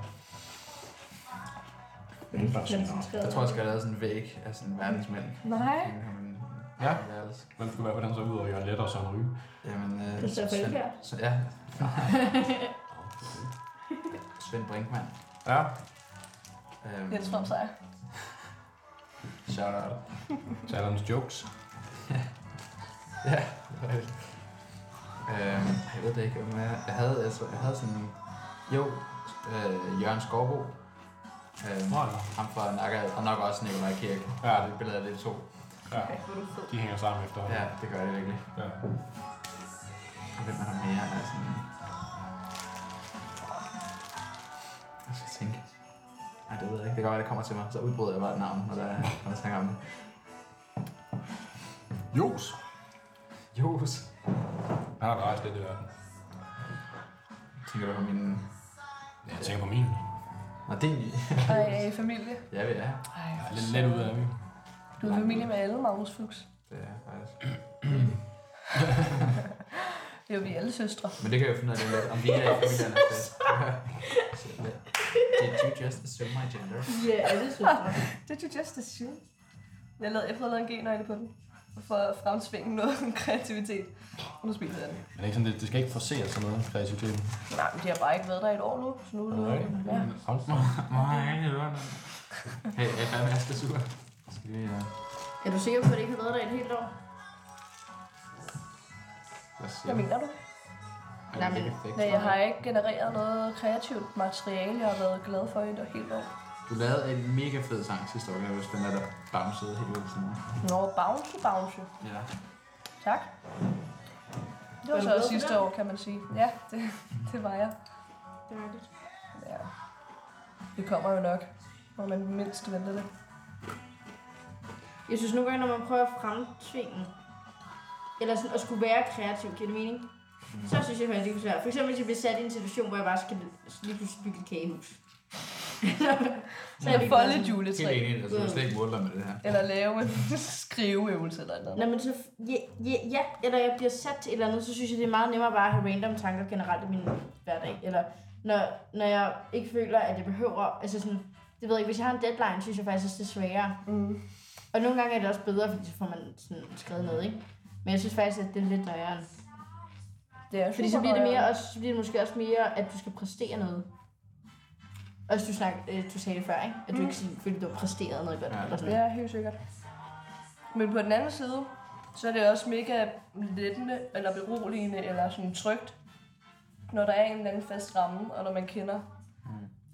Speaker 4: Jeg tror, jeg skal have lavet sådan en væg af sådan en verdensmænd.
Speaker 3: Nej.
Speaker 2: Ja. Hvem skulle være på den så ud over Jørgen Let og Søren Ryge?
Speaker 4: Jamen, øh,
Speaker 8: Det står på
Speaker 4: Svend-
Speaker 8: Elkjær.
Speaker 4: Svend- Ja. Svend Brinkmann.
Speaker 2: Ja.
Speaker 4: Øhm,
Speaker 3: Jens Fromm Sejer.
Speaker 4: Shout out.
Speaker 2: Salons jokes.
Speaker 4: Ja, det var det. øhm, jeg ved det ikke, om jeg, jeg havde, altså, jeg havde sådan, jo, øh, Jørgen Skovbo, øhm,
Speaker 2: Nå, ja.
Speaker 4: ham fra Nakka, og nok også Nikolaj Kirk.
Speaker 2: Ja.
Speaker 4: Det billede af det to.
Speaker 2: ja.
Speaker 5: Hvor er du fed.
Speaker 2: De hænger sammen efter.
Speaker 4: Ja, det gør det virkelig.
Speaker 2: ja.
Speaker 4: Og hvem er der mere? Der er sådan... Jeg skal tænke. Nej, det ved jeg ikke. Det kan godt være, det kommer til mig. Så udbryder jeg bare et navn, når der er når jeg snakker om det.
Speaker 2: Jos.
Speaker 4: Jos.
Speaker 2: Han har da rejst lidt i verden.
Speaker 4: Tænker du på min...
Speaker 2: Ja, jeg tænker på min.
Speaker 4: Nå, din...
Speaker 3: Og jeg er i familie.
Speaker 4: ja, vi er.
Speaker 3: Ej,
Speaker 2: Jeg er lidt let ud af min.
Speaker 3: du er i familie med alle, Magnus Fuchs.
Speaker 4: Det er jeg faktisk.
Speaker 3: Det er jo vi alle søstre.
Speaker 4: Men det kan jeg jo finde ud af lidt, om vi er i familien eller hvad. Did you just assume my gender?
Speaker 8: Vi er alle søstre.
Speaker 3: Did you just assume? Jeg, lavede, jeg prøvede at lave en genøjle på den. For at fremsvinge noget kreativitet. Og nu spiller jeg den.
Speaker 2: Men det er ikke sådan, det, det skal ikke forseres sådan noget kreativitet.
Speaker 3: Nej, men de har bare ikke været der i et år nu. Så nu er det
Speaker 2: Nej.
Speaker 3: lukket. Ja.
Speaker 2: Hold da.
Speaker 4: Nej, det var det. Hey, jeg er fandme Aske Sur. Skal vi... Uh,
Speaker 5: Er du sikker på, at det ikke har været der et helt år?
Speaker 4: hvad siger
Speaker 3: Hvad mener du?
Speaker 5: Nej, men-
Speaker 3: Nej, jeg har ikke genereret noget kreativt materiale, jeg har været glad for i et helt år.
Speaker 4: Du lavede en mega fed sang sidste år, kan jeg huske, den der, der bamsede helt ud til mig.
Speaker 3: Nå, bounce, bounce.
Speaker 4: Ja.
Speaker 3: Tak. Det var
Speaker 8: du
Speaker 3: så
Speaker 8: glad
Speaker 3: også
Speaker 8: for
Speaker 3: sidste
Speaker 8: det?
Speaker 3: år, kan man sige. Ja, det, det var jeg.
Speaker 5: Dejligt.
Speaker 3: Ja. Det kommer jo nok, når man mindst venter det.
Speaker 5: Jeg synes nogle gange, når man prøver at fremtvinge, eller sådan at skulle være kreativ, giver det mening? Så synes jeg faktisk, det er svært. For eksempel, hvis jeg bliver sat i en situation, hvor jeg bare skal lige pludselig bygge et kagehus. så
Speaker 3: Eller folde
Speaker 5: lige sådan-
Speaker 3: et
Speaker 4: Helt
Speaker 3: juletræ.
Speaker 4: enig, altså du er slet ikke måler med det her.
Speaker 3: Eller lave en skriveøvelse eller noget.
Speaker 5: Når man så, ja, ja, ja, eller jeg bliver sat til et eller andet, så synes jeg, det er meget nemmere bare at have random tanker generelt i min hverdag. Eller når, når jeg ikke føler, at jeg behøver, altså sådan, det ved jeg ikke, hvis jeg har en deadline, synes jeg faktisk, at det er sværere.
Speaker 3: Mm.
Speaker 5: Og nogle gange er det også bedre, fordi så får man sådan skrevet noget, ikke? Men jeg synes faktisk, at det er lidt nøjere.
Speaker 3: Det er
Speaker 5: Fordi så
Speaker 3: super
Speaker 5: bliver det mere
Speaker 3: nøjeren.
Speaker 5: også, så bliver det måske også mere, at du skal præstere noget. Også du, snak, øh, du sagde det før, ikke? At du
Speaker 3: Mm.
Speaker 5: ikke sådan, følte, du har præsteret noget godt.
Speaker 4: Ja.
Speaker 5: Eller sådan.
Speaker 3: Ja, helt sikkert. Men på den anden side, så er det også mega lettende, eller beroligende, eller sådan trygt, når der er en eller anden fast ramme, og når man kender,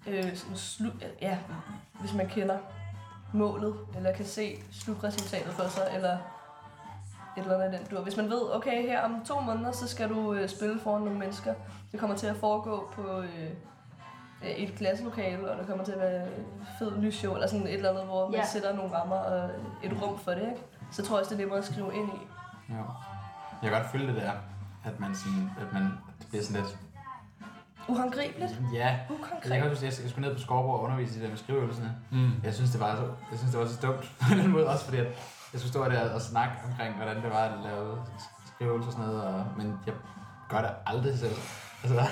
Speaker 3: øh, sådan slu- ja, hvis man kender målet, eller kan se slutresultatet for sig, eller et eller andet i den dur. Hvis man ved, okay, her om to måneder, så skal du øh, spille foran nogle mennesker. Det kommer til at foregå på øh, øh, et klasselokale, og der kommer til at være øh, fed lysshow, eller sådan et eller andet, hvor man
Speaker 5: Ja.
Speaker 3: sætter nogle rammer og et rum for det, ikke? Så tror jeg også, det er nemmere at skrive ind i.
Speaker 4: Jo. Jeg kan godt følge det der, at man, sådan, at man at det bliver sådan lidt...
Speaker 3: Uhåndgribeligt.
Speaker 4: Ja, jeg kan
Speaker 3: Ukonkret.
Speaker 4: godt huske, at jeg- jeg skulle ned på Skorborg og undervise i det der med skriveøvelsen.
Speaker 2: Mm.
Speaker 4: Jeg synes, det var så, jeg synes, det var så dumt på den måde, også fordi at jeg skulle stå der og snakke omkring, hvordan det var at lave skriveøvelser og sådan noget, og, men jeg gør det aldrig selv. Altså,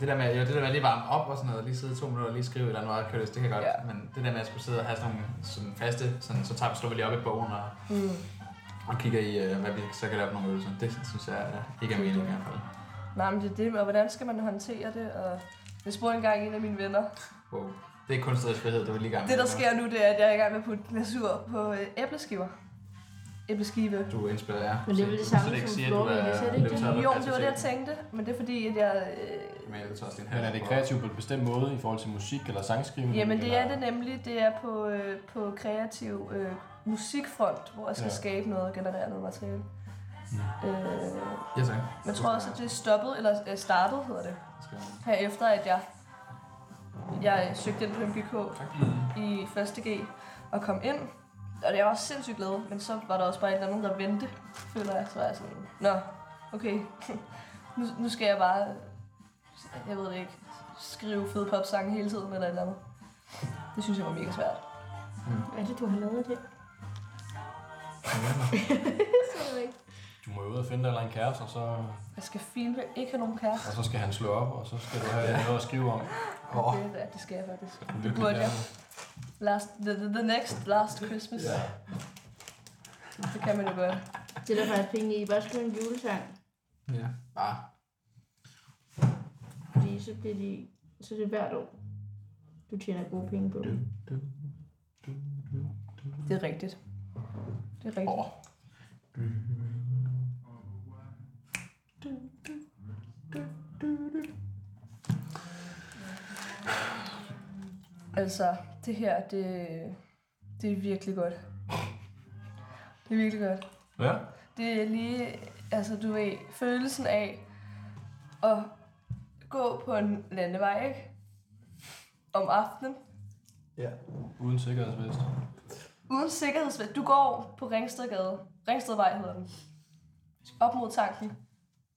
Speaker 4: det der med, jo, det der med at lige varme op og sådan noget, lige sidde i to minutter og lige skrive et eller andet meget kørt, det kan jeg godt,
Speaker 3: Ja.
Speaker 4: ja. men det der med at skulle sidde og have sådan nogle sådan faste, sådan, så tager, slår vi lige op i bogen og,
Speaker 3: Mm.
Speaker 4: og kigger i, øh, hvad vi så kan lave for nogle øvelser, det synes jeg øh, ikke er meningen i hvert fald.
Speaker 3: Nej, men det er det, og hvordan skal man håndtere det? Og jeg spurgte engang en af mine venner.
Speaker 4: Wow. Det er kunstnerisk frihed, det var lige i gang med
Speaker 3: Det, der
Speaker 4: nu.
Speaker 3: sker nu, det er, at jeg er i gang med at putte glasur på øh, æbleskiver. Æbleskive.
Speaker 4: Du er inspireret, ja.
Speaker 5: Men det er vel det
Speaker 4: Så-
Speaker 5: samme
Speaker 4: så ikke
Speaker 5: som
Speaker 4: siger, at du
Speaker 5: flooring, så er det ikke det?
Speaker 4: løbetør,
Speaker 3: Jo, det var det, jeg
Speaker 4: altså,
Speaker 3: tænkte, men det er fordi, at jeg... Øh,
Speaker 4: Men ellers også din
Speaker 2: Men er
Speaker 4: hat
Speaker 2: det
Speaker 4: på.
Speaker 2: kreativt på en bestemt måde i forhold til musik eller sangskrivning?
Speaker 3: Jamen det er
Speaker 2: eller-
Speaker 3: det nemlig. Det er på, øh, på kreativ øh, musikfront, hvor jeg skal
Speaker 2: Ja.
Speaker 3: ja. skabe noget og generere noget materiale. Mm. Øh,
Speaker 4: Ja, tak.
Speaker 3: men jeg tror også, at det er stoppet, eller øh, startet hedder det,
Speaker 4: Skal-
Speaker 3: her efter at jeg, jeg søgte ind på MBK i 1.G og kom ind. Og det var også sindssygt glad, men så var der også bare et eller andet, der vendte, føler jeg. Så var jeg sådan, nå, okay, nu, nu skal jeg bare, jeg ved det ikke, skrive fede popsange hele tiden eller et eller andet. Det synes jeg var mega svært.
Speaker 5: Hvad er det, du har lavet det?
Speaker 2: Du må jo ud og finde dig en eller anden kæreste, og så,
Speaker 3: Jeg skal filme, ikke have nogen kæreste.
Speaker 2: og så skal han slå op, og så skal du have noget at skrive om.
Speaker 4: Åh,
Speaker 3: Det, er- det skal jeg faktisk.
Speaker 2: Du
Speaker 3: Det burde jeg. Last, the, the, the next last Christmas.
Speaker 2: Ja.
Speaker 3: Det kan man jo godt.
Speaker 5: Det er der faktisk penge i. Bare skrive en julesang.
Speaker 4: ja. Bare.
Speaker 5: Fordi så bliver de... Så er det hvert år, du tjener gode penge på. dem.
Speaker 3: Det er rigtigt. Det er rigtigt.
Speaker 4: Åh.
Speaker 3: Altså, det her, det, det er virkelig godt. Det er virkelig godt.
Speaker 2: Ja.
Speaker 3: Det er lige, altså du ved, følelsen af at gå på en landevej, ikke? Om aftenen.
Speaker 2: Uden sikkerhedsvest.
Speaker 3: Uden sikkerhedsvægt. Du går på Ringstedgade. Ringstedvej hedder den. Op mod tanken.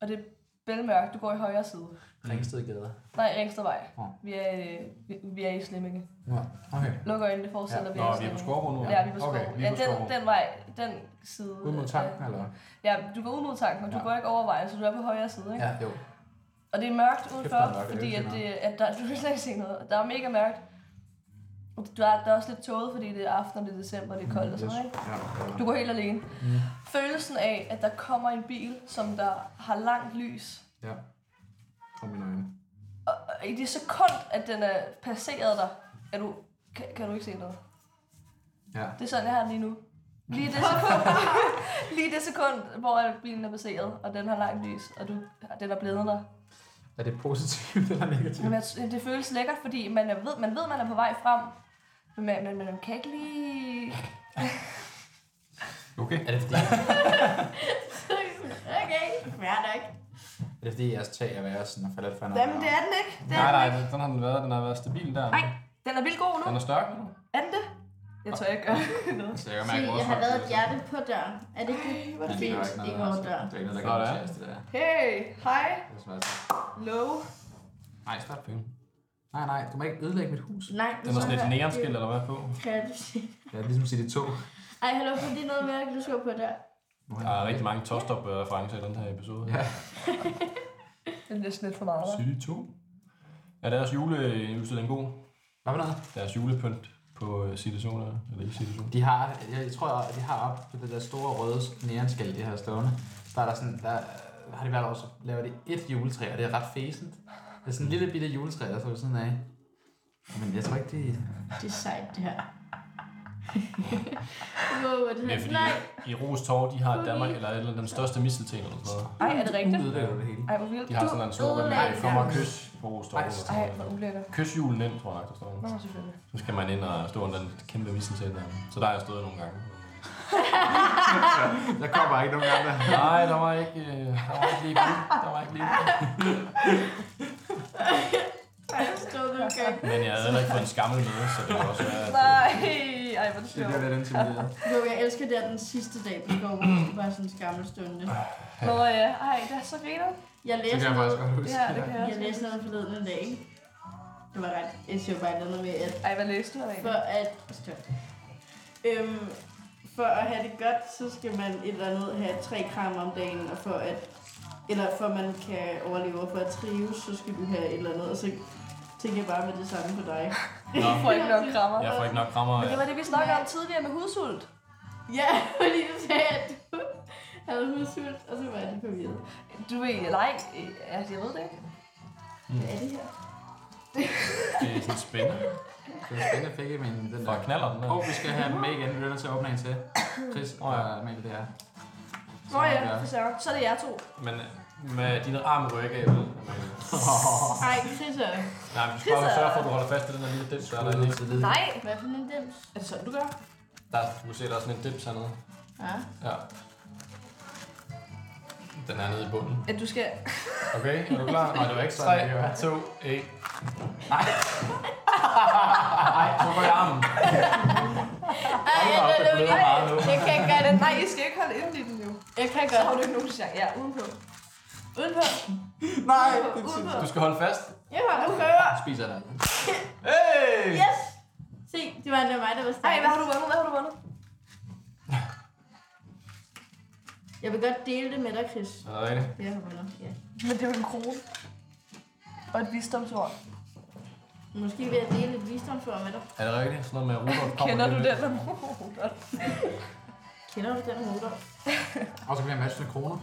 Speaker 3: Og det er bælmørkt. Du går i højre side.
Speaker 4: Ringsted gader.
Speaker 3: Nej, Ringstedvej.
Speaker 4: Nå.
Speaker 3: Vi er, øh, vi, vi er i Slemminge.
Speaker 4: Ja. Okay.
Speaker 3: Luk øjnene, forestiller ja. vi
Speaker 2: Nå,
Speaker 3: er
Speaker 2: vi er på
Speaker 3: i Slemminge.
Speaker 2: Skorborg nu?
Speaker 3: Ja, vi er på
Speaker 2: Okay,
Speaker 3: Skorborg.
Speaker 2: vi
Speaker 3: ja,
Speaker 2: er på Skorborg.
Speaker 3: den, den vej, den side.
Speaker 4: Ud mod tanken,
Speaker 3: Ja.
Speaker 4: eller?
Speaker 3: ja, du går ud mod tanken, og du
Speaker 4: Ja.
Speaker 3: går ikke over vejen, så du er på højre side, ikke?
Speaker 4: Ja, jo.
Speaker 3: Og det er mørkt
Speaker 4: hvor
Speaker 3: udenfor,
Speaker 4: er mørkt,
Speaker 3: fordi
Speaker 4: jeg
Speaker 3: at,
Speaker 4: kan ikke
Speaker 3: det, at der, du kan slet ikke se noget. Der er mega mørkt. Og Der er, der er også lidt tåget, fordi det er aften, og det er december, og det er koldt og sådan noget, ikke?
Speaker 4: Ja, ja.
Speaker 3: Du går helt alene. Mm. Følelsen af, at der kommer en bil, som der har langt lys.
Speaker 4: Ja. Kom mine øjne.
Speaker 3: Og og i det sekund, at den er passeret dig, er du, kan, kan du ikke se noget.
Speaker 4: Ja.
Speaker 3: Det er sådan, jeg har det lige nu. Lige det sekund, lige det sekund hvor at bilen er passeret, og den har langt lys, og du, og den er blevet dig.
Speaker 4: Er det positivt eller negativt?
Speaker 3: Men jeg, det føles lækkert, fordi man er, ved, man ved, man er på vej frem, men man, man, man kan ikke lige...
Speaker 4: Okay. Er det fordi,
Speaker 5: Okay, fair nok.
Speaker 4: er det fordi jeres tag er værre sådan og falder lidt fra hinanden?
Speaker 3: Jamen, det er den ikke. Det er
Speaker 2: Nej,
Speaker 3: den,
Speaker 2: nej,
Speaker 3: ikke.
Speaker 2: den har den været. Den har været stabil der.
Speaker 3: Nej, den er vildt god nu.
Speaker 2: Den er stærk nu.
Speaker 3: Er den det? Jeg tror, jeg gør noget.
Speaker 4: Så Altså, jeg kan
Speaker 5: Se,
Speaker 4: mærke,
Speaker 5: jeg har lavet et hjerte på døren. Er det ikke det?
Speaker 4: Men
Speaker 5: Det
Speaker 4: det
Speaker 5: er
Speaker 4: er
Speaker 5: ikke
Speaker 4: ikke noget,
Speaker 5: det går
Speaker 4: altså.
Speaker 5: døren.
Speaker 4: Det er ikke noget, der
Speaker 2: Sådan.
Speaker 4: kan håndteres, det der.
Speaker 3: Hey, hej,
Speaker 4: Det er svært.
Speaker 3: low.
Speaker 4: Nej, stop. Nej, nej, du må ikke ødelægge mit hus.
Speaker 5: Nej,
Speaker 2: Den er sådan lidt neonskilt,
Speaker 5: eller?
Speaker 2: eller hvad på?
Speaker 5: Kreativt.
Speaker 4: Ja, det er ligesom at sige, det er to.
Speaker 5: Ej, hallo, fordi det er noget mere, du skriver på der.
Speaker 2: Der er rigtig mange tostop-referencer i den her episode.
Speaker 4: Ja.
Speaker 3: Det er næsten lidt for meget. hva'?
Speaker 2: City 2. Er deres juleudstilling god?
Speaker 4: Hvad for noget?
Speaker 2: Deres julepynt på øh, City 2, eller eller i City 2?
Speaker 4: De har, jeg, jeg tror, at de har op på det der store røde nærenskæld, de har stående. Der er der sådan, der øh, har de hvert år, så laver de et juletræ, og det er ret fæsent. Det er sådan en lille bitte juletræ, der står ved siden af. Men jeg tror ikke, det
Speaker 5: Det er sejt, det her. wow, er det
Speaker 2: Det er
Speaker 5: her?
Speaker 2: fordi,
Speaker 5: Nej,
Speaker 2: i Ros Torv, de har Danmark, eller, eller den største mistelten eller sådan noget.
Speaker 3: Ej, er det rigtigt?
Speaker 4: ødelægger det hele.
Speaker 3: Ej, hvor vildt.
Speaker 2: De har sådan en slogan,
Speaker 5: ødelægger
Speaker 2: der kommer og kys på Ros Torv.
Speaker 4: Ej,
Speaker 2: eller
Speaker 3: Ej,
Speaker 2: sådan
Speaker 3: hvor
Speaker 2: noget.
Speaker 3: ulækkert.
Speaker 2: Kys julen ind, tror jeg nok, der står.
Speaker 3: Nå, selvfølgelig.
Speaker 2: Så skal man ind og stå under den kæmpe mistelten der. Så der har jeg stået nogle gange.
Speaker 3: Ah!
Speaker 4: Der kommer ikke nogen andre.
Speaker 2: Nej, der var ikke, øh, der var ikke lige guld. Der var ikke lige guld.
Speaker 5: Ej,
Speaker 3: Okay.
Speaker 2: Men jeg havde heller ikke fået en skammel med, så det var også være, at øh,
Speaker 3: Nej, ej, hvor er det
Speaker 4: Det er der,
Speaker 3: sjovt.
Speaker 4: der er den til videre.
Speaker 5: Jo, jeg elsker det, at den sidste dag på går ud. Bare sådan en skammel stunde.
Speaker 3: Nå ja, ej, det er så griner.
Speaker 5: Jeg
Speaker 4: Det kan
Speaker 5: læste,
Speaker 4: jeg
Speaker 5: noget,
Speaker 4: faktisk godt huske.
Speaker 3: Ja, det kan jeg
Speaker 5: jeg
Speaker 3: også.
Speaker 5: læste noget forleden en dag. ikke? Det var ret. Jeg siger bare noget med, at
Speaker 3: Ej, hvad læste du af?
Speaker 5: for at... stop. Øhm, for at have det godt, så skal man et eller andet have tre kram om dagen, og for at eller for at man kan overleve og for at trives, så skal du have et eller andet, og så tænker jeg bare med det samme på dig.
Speaker 3: Du får ikke nok krammer.
Speaker 2: jeg får ikke nok krammer.
Speaker 3: Men det var det, vi snakkede om tidligere med hudsult.
Speaker 5: Ja, fordi du sagde, at du havde hudsult, og så var jeg lidt forvirret.
Speaker 3: Du ved, nej, øh, altså, jeg ved det ikke.
Speaker 2: Mm.
Speaker 5: Hvad er det her?
Speaker 2: Det er sådan spændende.
Speaker 4: Det var spændende, jeg fik i min den
Speaker 2: Og
Speaker 4: der.
Speaker 2: knaller den der.
Speaker 4: Åh, oh, vi skal have med igen. Vi er nødt til at åbne en til. Chris og Amalie, det er.
Speaker 3: Nå ja,
Speaker 4: Ja.
Speaker 3: for søren. Så er det jer to.
Speaker 2: Men øh, med din arm rykker af, vel?
Speaker 5: Ej, Chris er det.
Speaker 2: Nej, men du skal bare sørge for, at du holder fast i den der lille dims, der er derinde. ikke?
Speaker 3: Nej.
Speaker 5: Hvad for en dims?
Speaker 3: Er det sådan, du gør?
Speaker 2: Der, er- du ser, der er sådan en dims hernede.
Speaker 5: Ja.
Speaker 2: Ja. Den er nede i bunden.
Speaker 3: At du skal...
Speaker 2: Okay, er du klar? Nej, det var ikke
Speaker 4: Sådan, det kan
Speaker 2: 3, 2, 1. Nej. Nej, så går jeg armen.
Speaker 5: Ej, jeg,
Speaker 2: op,
Speaker 5: jeg,
Speaker 2: det
Speaker 5: jeg,
Speaker 2: bløder meget nu.
Speaker 5: jeg, jeg kan gøre det.
Speaker 3: Nej, I skal ikke holde inden i den jo.
Speaker 5: Jeg kan
Speaker 3: Så
Speaker 5: gøre
Speaker 3: har du
Speaker 5: det.
Speaker 3: ikke nogen chance. Ja, udenpå.
Speaker 5: Udenpå.
Speaker 4: Nej,
Speaker 3: Udenpå.
Speaker 2: Du skal holde fast.
Speaker 5: Jeg har nu prøver.
Speaker 4: Spiser den.
Speaker 2: Hey!
Speaker 5: Yes! Se, det var det var mig, der var stærk.
Speaker 3: Ej, hvad har du vundet? Hvad har du vundet?
Speaker 5: Jeg vil godt dele det med dig, Chris.
Speaker 2: Er det rigtigt?
Speaker 5: Jeg har vundet, ja.
Speaker 3: Men det er jo en krone. Og et visdomsord.
Speaker 5: Måske vil jeg dele et visdomsord med dig.
Speaker 2: Er det rigtigt? Sådan noget med at Rudolf kommer
Speaker 3: Kender du
Speaker 2: lige
Speaker 3: den
Speaker 2: lidt.
Speaker 3: om Rudolf?
Speaker 5: Kender du den motor?
Speaker 4: Og så bliver jeg matchet med kroner.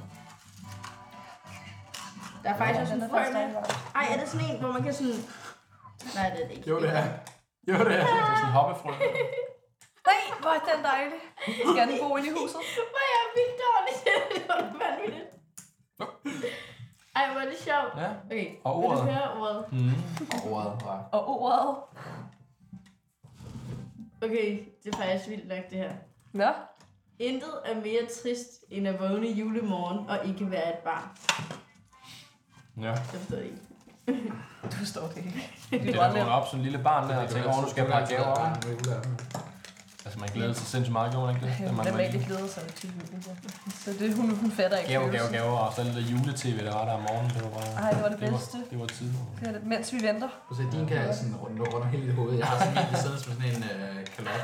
Speaker 5: Der er faktisk også
Speaker 3: Den
Speaker 5: en
Speaker 3: er
Speaker 5: frø
Speaker 3: faktisk
Speaker 5: med.
Speaker 3: dejlig.
Speaker 5: Ej, er det sådan en, hvor man kan sådan... Nej, det er det ikke.
Speaker 4: Jo, det er. Jo, det er.
Speaker 2: Det er sådan en hoppefrø.
Speaker 3: Nej, hvor er den dejlig. Skal den bo inde i huset?
Speaker 5: Hvor er jeg vildt dårlig til det. Det var vanvittigt. Ej, hvor er det sjovt.
Speaker 2: Ja.
Speaker 5: Okay,
Speaker 2: Og
Speaker 5: vil du
Speaker 2: ordet?
Speaker 5: høre ordet?
Speaker 2: Mm.
Speaker 4: Ordet.
Speaker 3: Og ordet.
Speaker 5: Okay, det er faktisk vildt nok det her.
Speaker 3: Nå,
Speaker 5: Intet er mere trist, end at vågne julemorgen og ikke være et barn.
Speaker 2: Ja.
Speaker 5: Jeg forstår det ikke.
Speaker 3: du står det ikke.
Speaker 2: Det er der vågner op som en lille barn der og tænker, åh, nu skal jeg pakke gaver op. Altså, man glæder sig sindssygt meget, gjorde man ikke det? Da man
Speaker 3: Den
Speaker 2: var
Speaker 3: var
Speaker 2: lille.
Speaker 3: ikke glædet sig til julen. så. Så det, hun, hun fatter ikke.
Speaker 2: Gave, gave,
Speaker 3: følelsen.
Speaker 2: gave, og så lidt af jule-tv, der var der om morgenen. Det var bare...
Speaker 3: Ej, det var det bedste.
Speaker 2: Det var tid.
Speaker 3: Det er det, mens vi venter.
Speaker 4: Du ser, din kan sådan rundt rundt hele hovedet. Jeg har sådan en, der sidder som sådan en øh, kalot.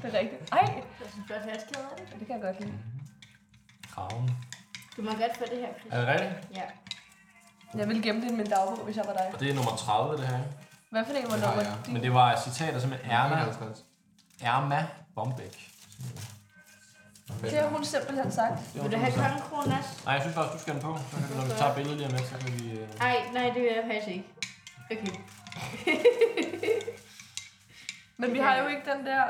Speaker 3: Det er rigtigt. Ej,
Speaker 5: Jeg synes godt, at jeg det.
Speaker 3: det kan jeg godt lide.
Speaker 2: Kraven.
Speaker 5: Du må godt få det her, Chris.
Speaker 2: Er det rigtigt?
Speaker 5: Ja.
Speaker 3: Jeg ville gemme det i min dagbog, hvis jeg var dig.
Speaker 2: Og det er nummer 30, det her. ikke?
Speaker 3: Hvad for en var
Speaker 4: Det har
Speaker 3: nummer?
Speaker 4: jeg.
Speaker 3: din?
Speaker 2: Men det var et citat af simpelthen Erna,
Speaker 4: 51.
Speaker 2: Erma Bombæk.
Speaker 3: Det har hun simpelthen sagt.
Speaker 2: Det var
Speaker 5: Vil du have
Speaker 2: sådan,
Speaker 5: kongekroner?
Speaker 2: så- Nej, jeg synes faktisk, du skal den på. Så kan vi, når vi tager billedet lige om lidt, så kan vi... øh,
Speaker 5: Nej, nej, det vil jeg faktisk ikke. Okay.
Speaker 3: Men vi har jo ikke den der...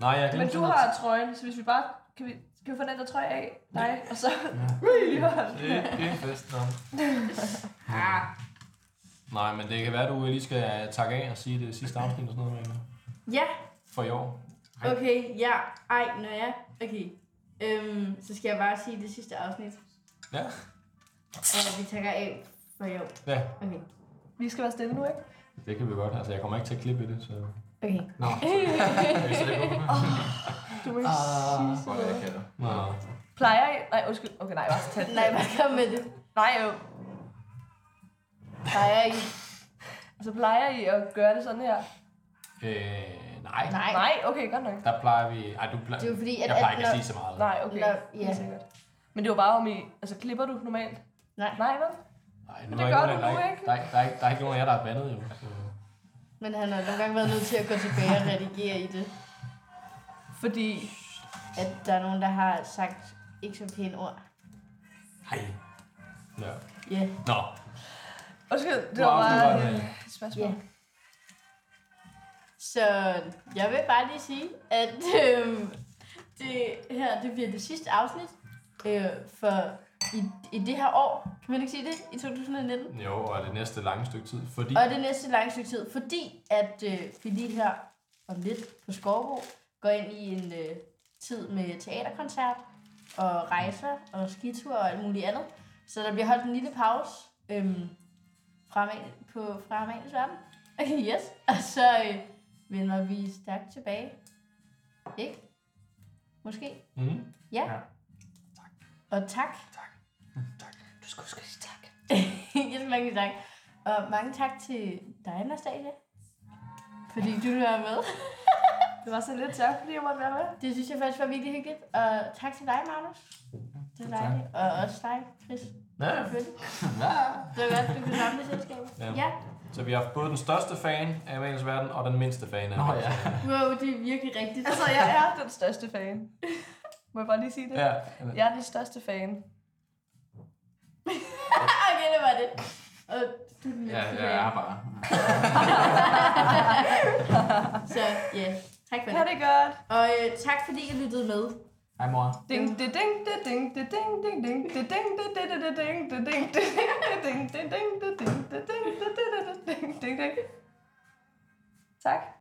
Speaker 2: Nej, jeg
Speaker 3: Men
Speaker 2: glemte
Speaker 3: du
Speaker 2: sådan
Speaker 3: har trøjen, så hvis vi bare... Kan vi, kan vi få den der trøje af dig? Og så... Ja.
Speaker 2: noget. Det er- Det er en fest, nå.
Speaker 5: Ah.
Speaker 2: Nej, men det kan være, du øh, lige skal takke af og sige det sidste afsnit og sådan noget med
Speaker 5: Ja,
Speaker 2: for i år.
Speaker 5: okay, ja. Ej, når jeg... Okay. Øhm, så skal jeg bare sige det sidste afsnit.
Speaker 2: Ja.
Speaker 5: Og vi takker af for i år.
Speaker 2: Ja,
Speaker 5: Okay.
Speaker 3: Vi skal være stille nu, ikke?
Speaker 2: det kan vi godt. Altså, jeg kommer ikke til at klippe i det, så...
Speaker 5: Okay.
Speaker 4: Nå, så så det går.
Speaker 3: Du må ikke
Speaker 2: Ah.
Speaker 3: sige
Speaker 4: Hvor
Speaker 3: sådan
Speaker 4: er jeg
Speaker 3: noget.
Speaker 4: kalder.
Speaker 2: Nå.
Speaker 3: Plejer I... Nej, undskyld. Okay, nej, bare tag den.
Speaker 5: Nej, bare kom med det.
Speaker 3: Nej, jo. Plejer I... Så plejer I at gøre det sådan her?
Speaker 2: Øh, nej.
Speaker 5: Nej.
Speaker 3: Nej, okay, godt nok.
Speaker 2: Der plejer vi... Ej, du plejer...
Speaker 5: Det er jo fordi, at...
Speaker 2: Jeg plejer
Speaker 5: at
Speaker 2: ikke at sige så meget.
Speaker 3: Nej, okay.
Speaker 5: Nå, ja.
Speaker 3: Helt sikkert. Men det var bare om I... Altså, klipper du normalt?
Speaker 5: Nej.
Speaker 3: Nej, vel?
Speaker 2: Nej,
Speaker 3: Men
Speaker 2: er
Speaker 3: det
Speaker 2: ikke
Speaker 3: gør
Speaker 2: nogen,
Speaker 3: du
Speaker 2: der-
Speaker 3: nu,
Speaker 2: der er
Speaker 3: ikke?
Speaker 2: Der, er ikke- der, er ikke- der er ikke nogen af jer, der er bandet, jo. Altså, Så.
Speaker 5: Men han har nogle gange været nødt til at gå tilbage og redigere i det.
Speaker 3: Fordi...
Speaker 5: At der er nogen, der har sagt ikke så pæne ord.
Speaker 2: Hej. Ja.
Speaker 5: Ja.
Speaker 2: Nå,
Speaker 3: Undskyld, det
Speaker 2: nu
Speaker 3: var
Speaker 2: afslutter
Speaker 3: bare...
Speaker 2: vi.
Speaker 3: øh, Et spørgsmål.
Speaker 5: Ja. Så jeg vil bare lige sige, at øhm, det her det bliver det sidste afsnit øh, for i, i det her år. Kan man ikke sige det? I 2019.
Speaker 2: Jo, og det næste lange stykke tid, fordi...
Speaker 5: Og det næste lange stykke tid, fordi at øh, vi lige her om lidt på Skovbo går ind i en øh, tid med teaterkoncert og rejser og skitur og alt muligt andet. Så der bliver holdt en lille pause øhm, fra, Man- på, fra Amalies Verden. Okay, yes. Og så øh, vender vi stærkt tilbage. Ikke? Måske?
Speaker 2: Mm.
Speaker 5: Ja.
Speaker 4: Ja.
Speaker 5: ja. Og tak.
Speaker 3: Du skal huske at sige tak.
Speaker 5: yes, mange tak. Og mange tak til dig, Anastasia. Fordi du var med.
Speaker 3: Det var så lidt tak, fordi jeg måtte være med.
Speaker 5: Det synes jeg faktisk var virkelig hyggeligt. Og tak til dig, Magnus. Det er dejligt. Og også dig, Chris.
Speaker 6: Ja.
Speaker 5: Selvfølgelig.
Speaker 4: Ja.
Speaker 5: Det var godt, du kunne samle selskabet.
Speaker 6: Ja.
Speaker 5: ja.
Speaker 6: Så vi har haft både den største fan af Amalies Verden og den mindste fan af
Speaker 4: Nå
Speaker 6: Amalies
Speaker 4: ja.
Speaker 6: Verden.
Speaker 5: Wow, det er virkelig rigtigt.
Speaker 3: Altså, jeg er den største fan. Må jeg bare lige sige det?
Speaker 6: Ja.
Speaker 3: Jeg er den største fan.
Speaker 5: okay, det var det. Og du er den
Speaker 4: Ja,
Speaker 5: mindste
Speaker 4: jeg
Speaker 5: fan.
Speaker 4: er bare.
Speaker 5: Så ja, tak for
Speaker 3: Ja,
Speaker 5: det.
Speaker 3: det er godt.
Speaker 5: Og øh, tak fordi I lyttede med.
Speaker 4: Hej mor.
Speaker 3: Ding, det ding, det ding, det ding, ding, ding, det ding, det det det det ding, det ding, det det ding, det ding, det ding, det ding, det ding, det ding, det ding, det ding, ding. Tak.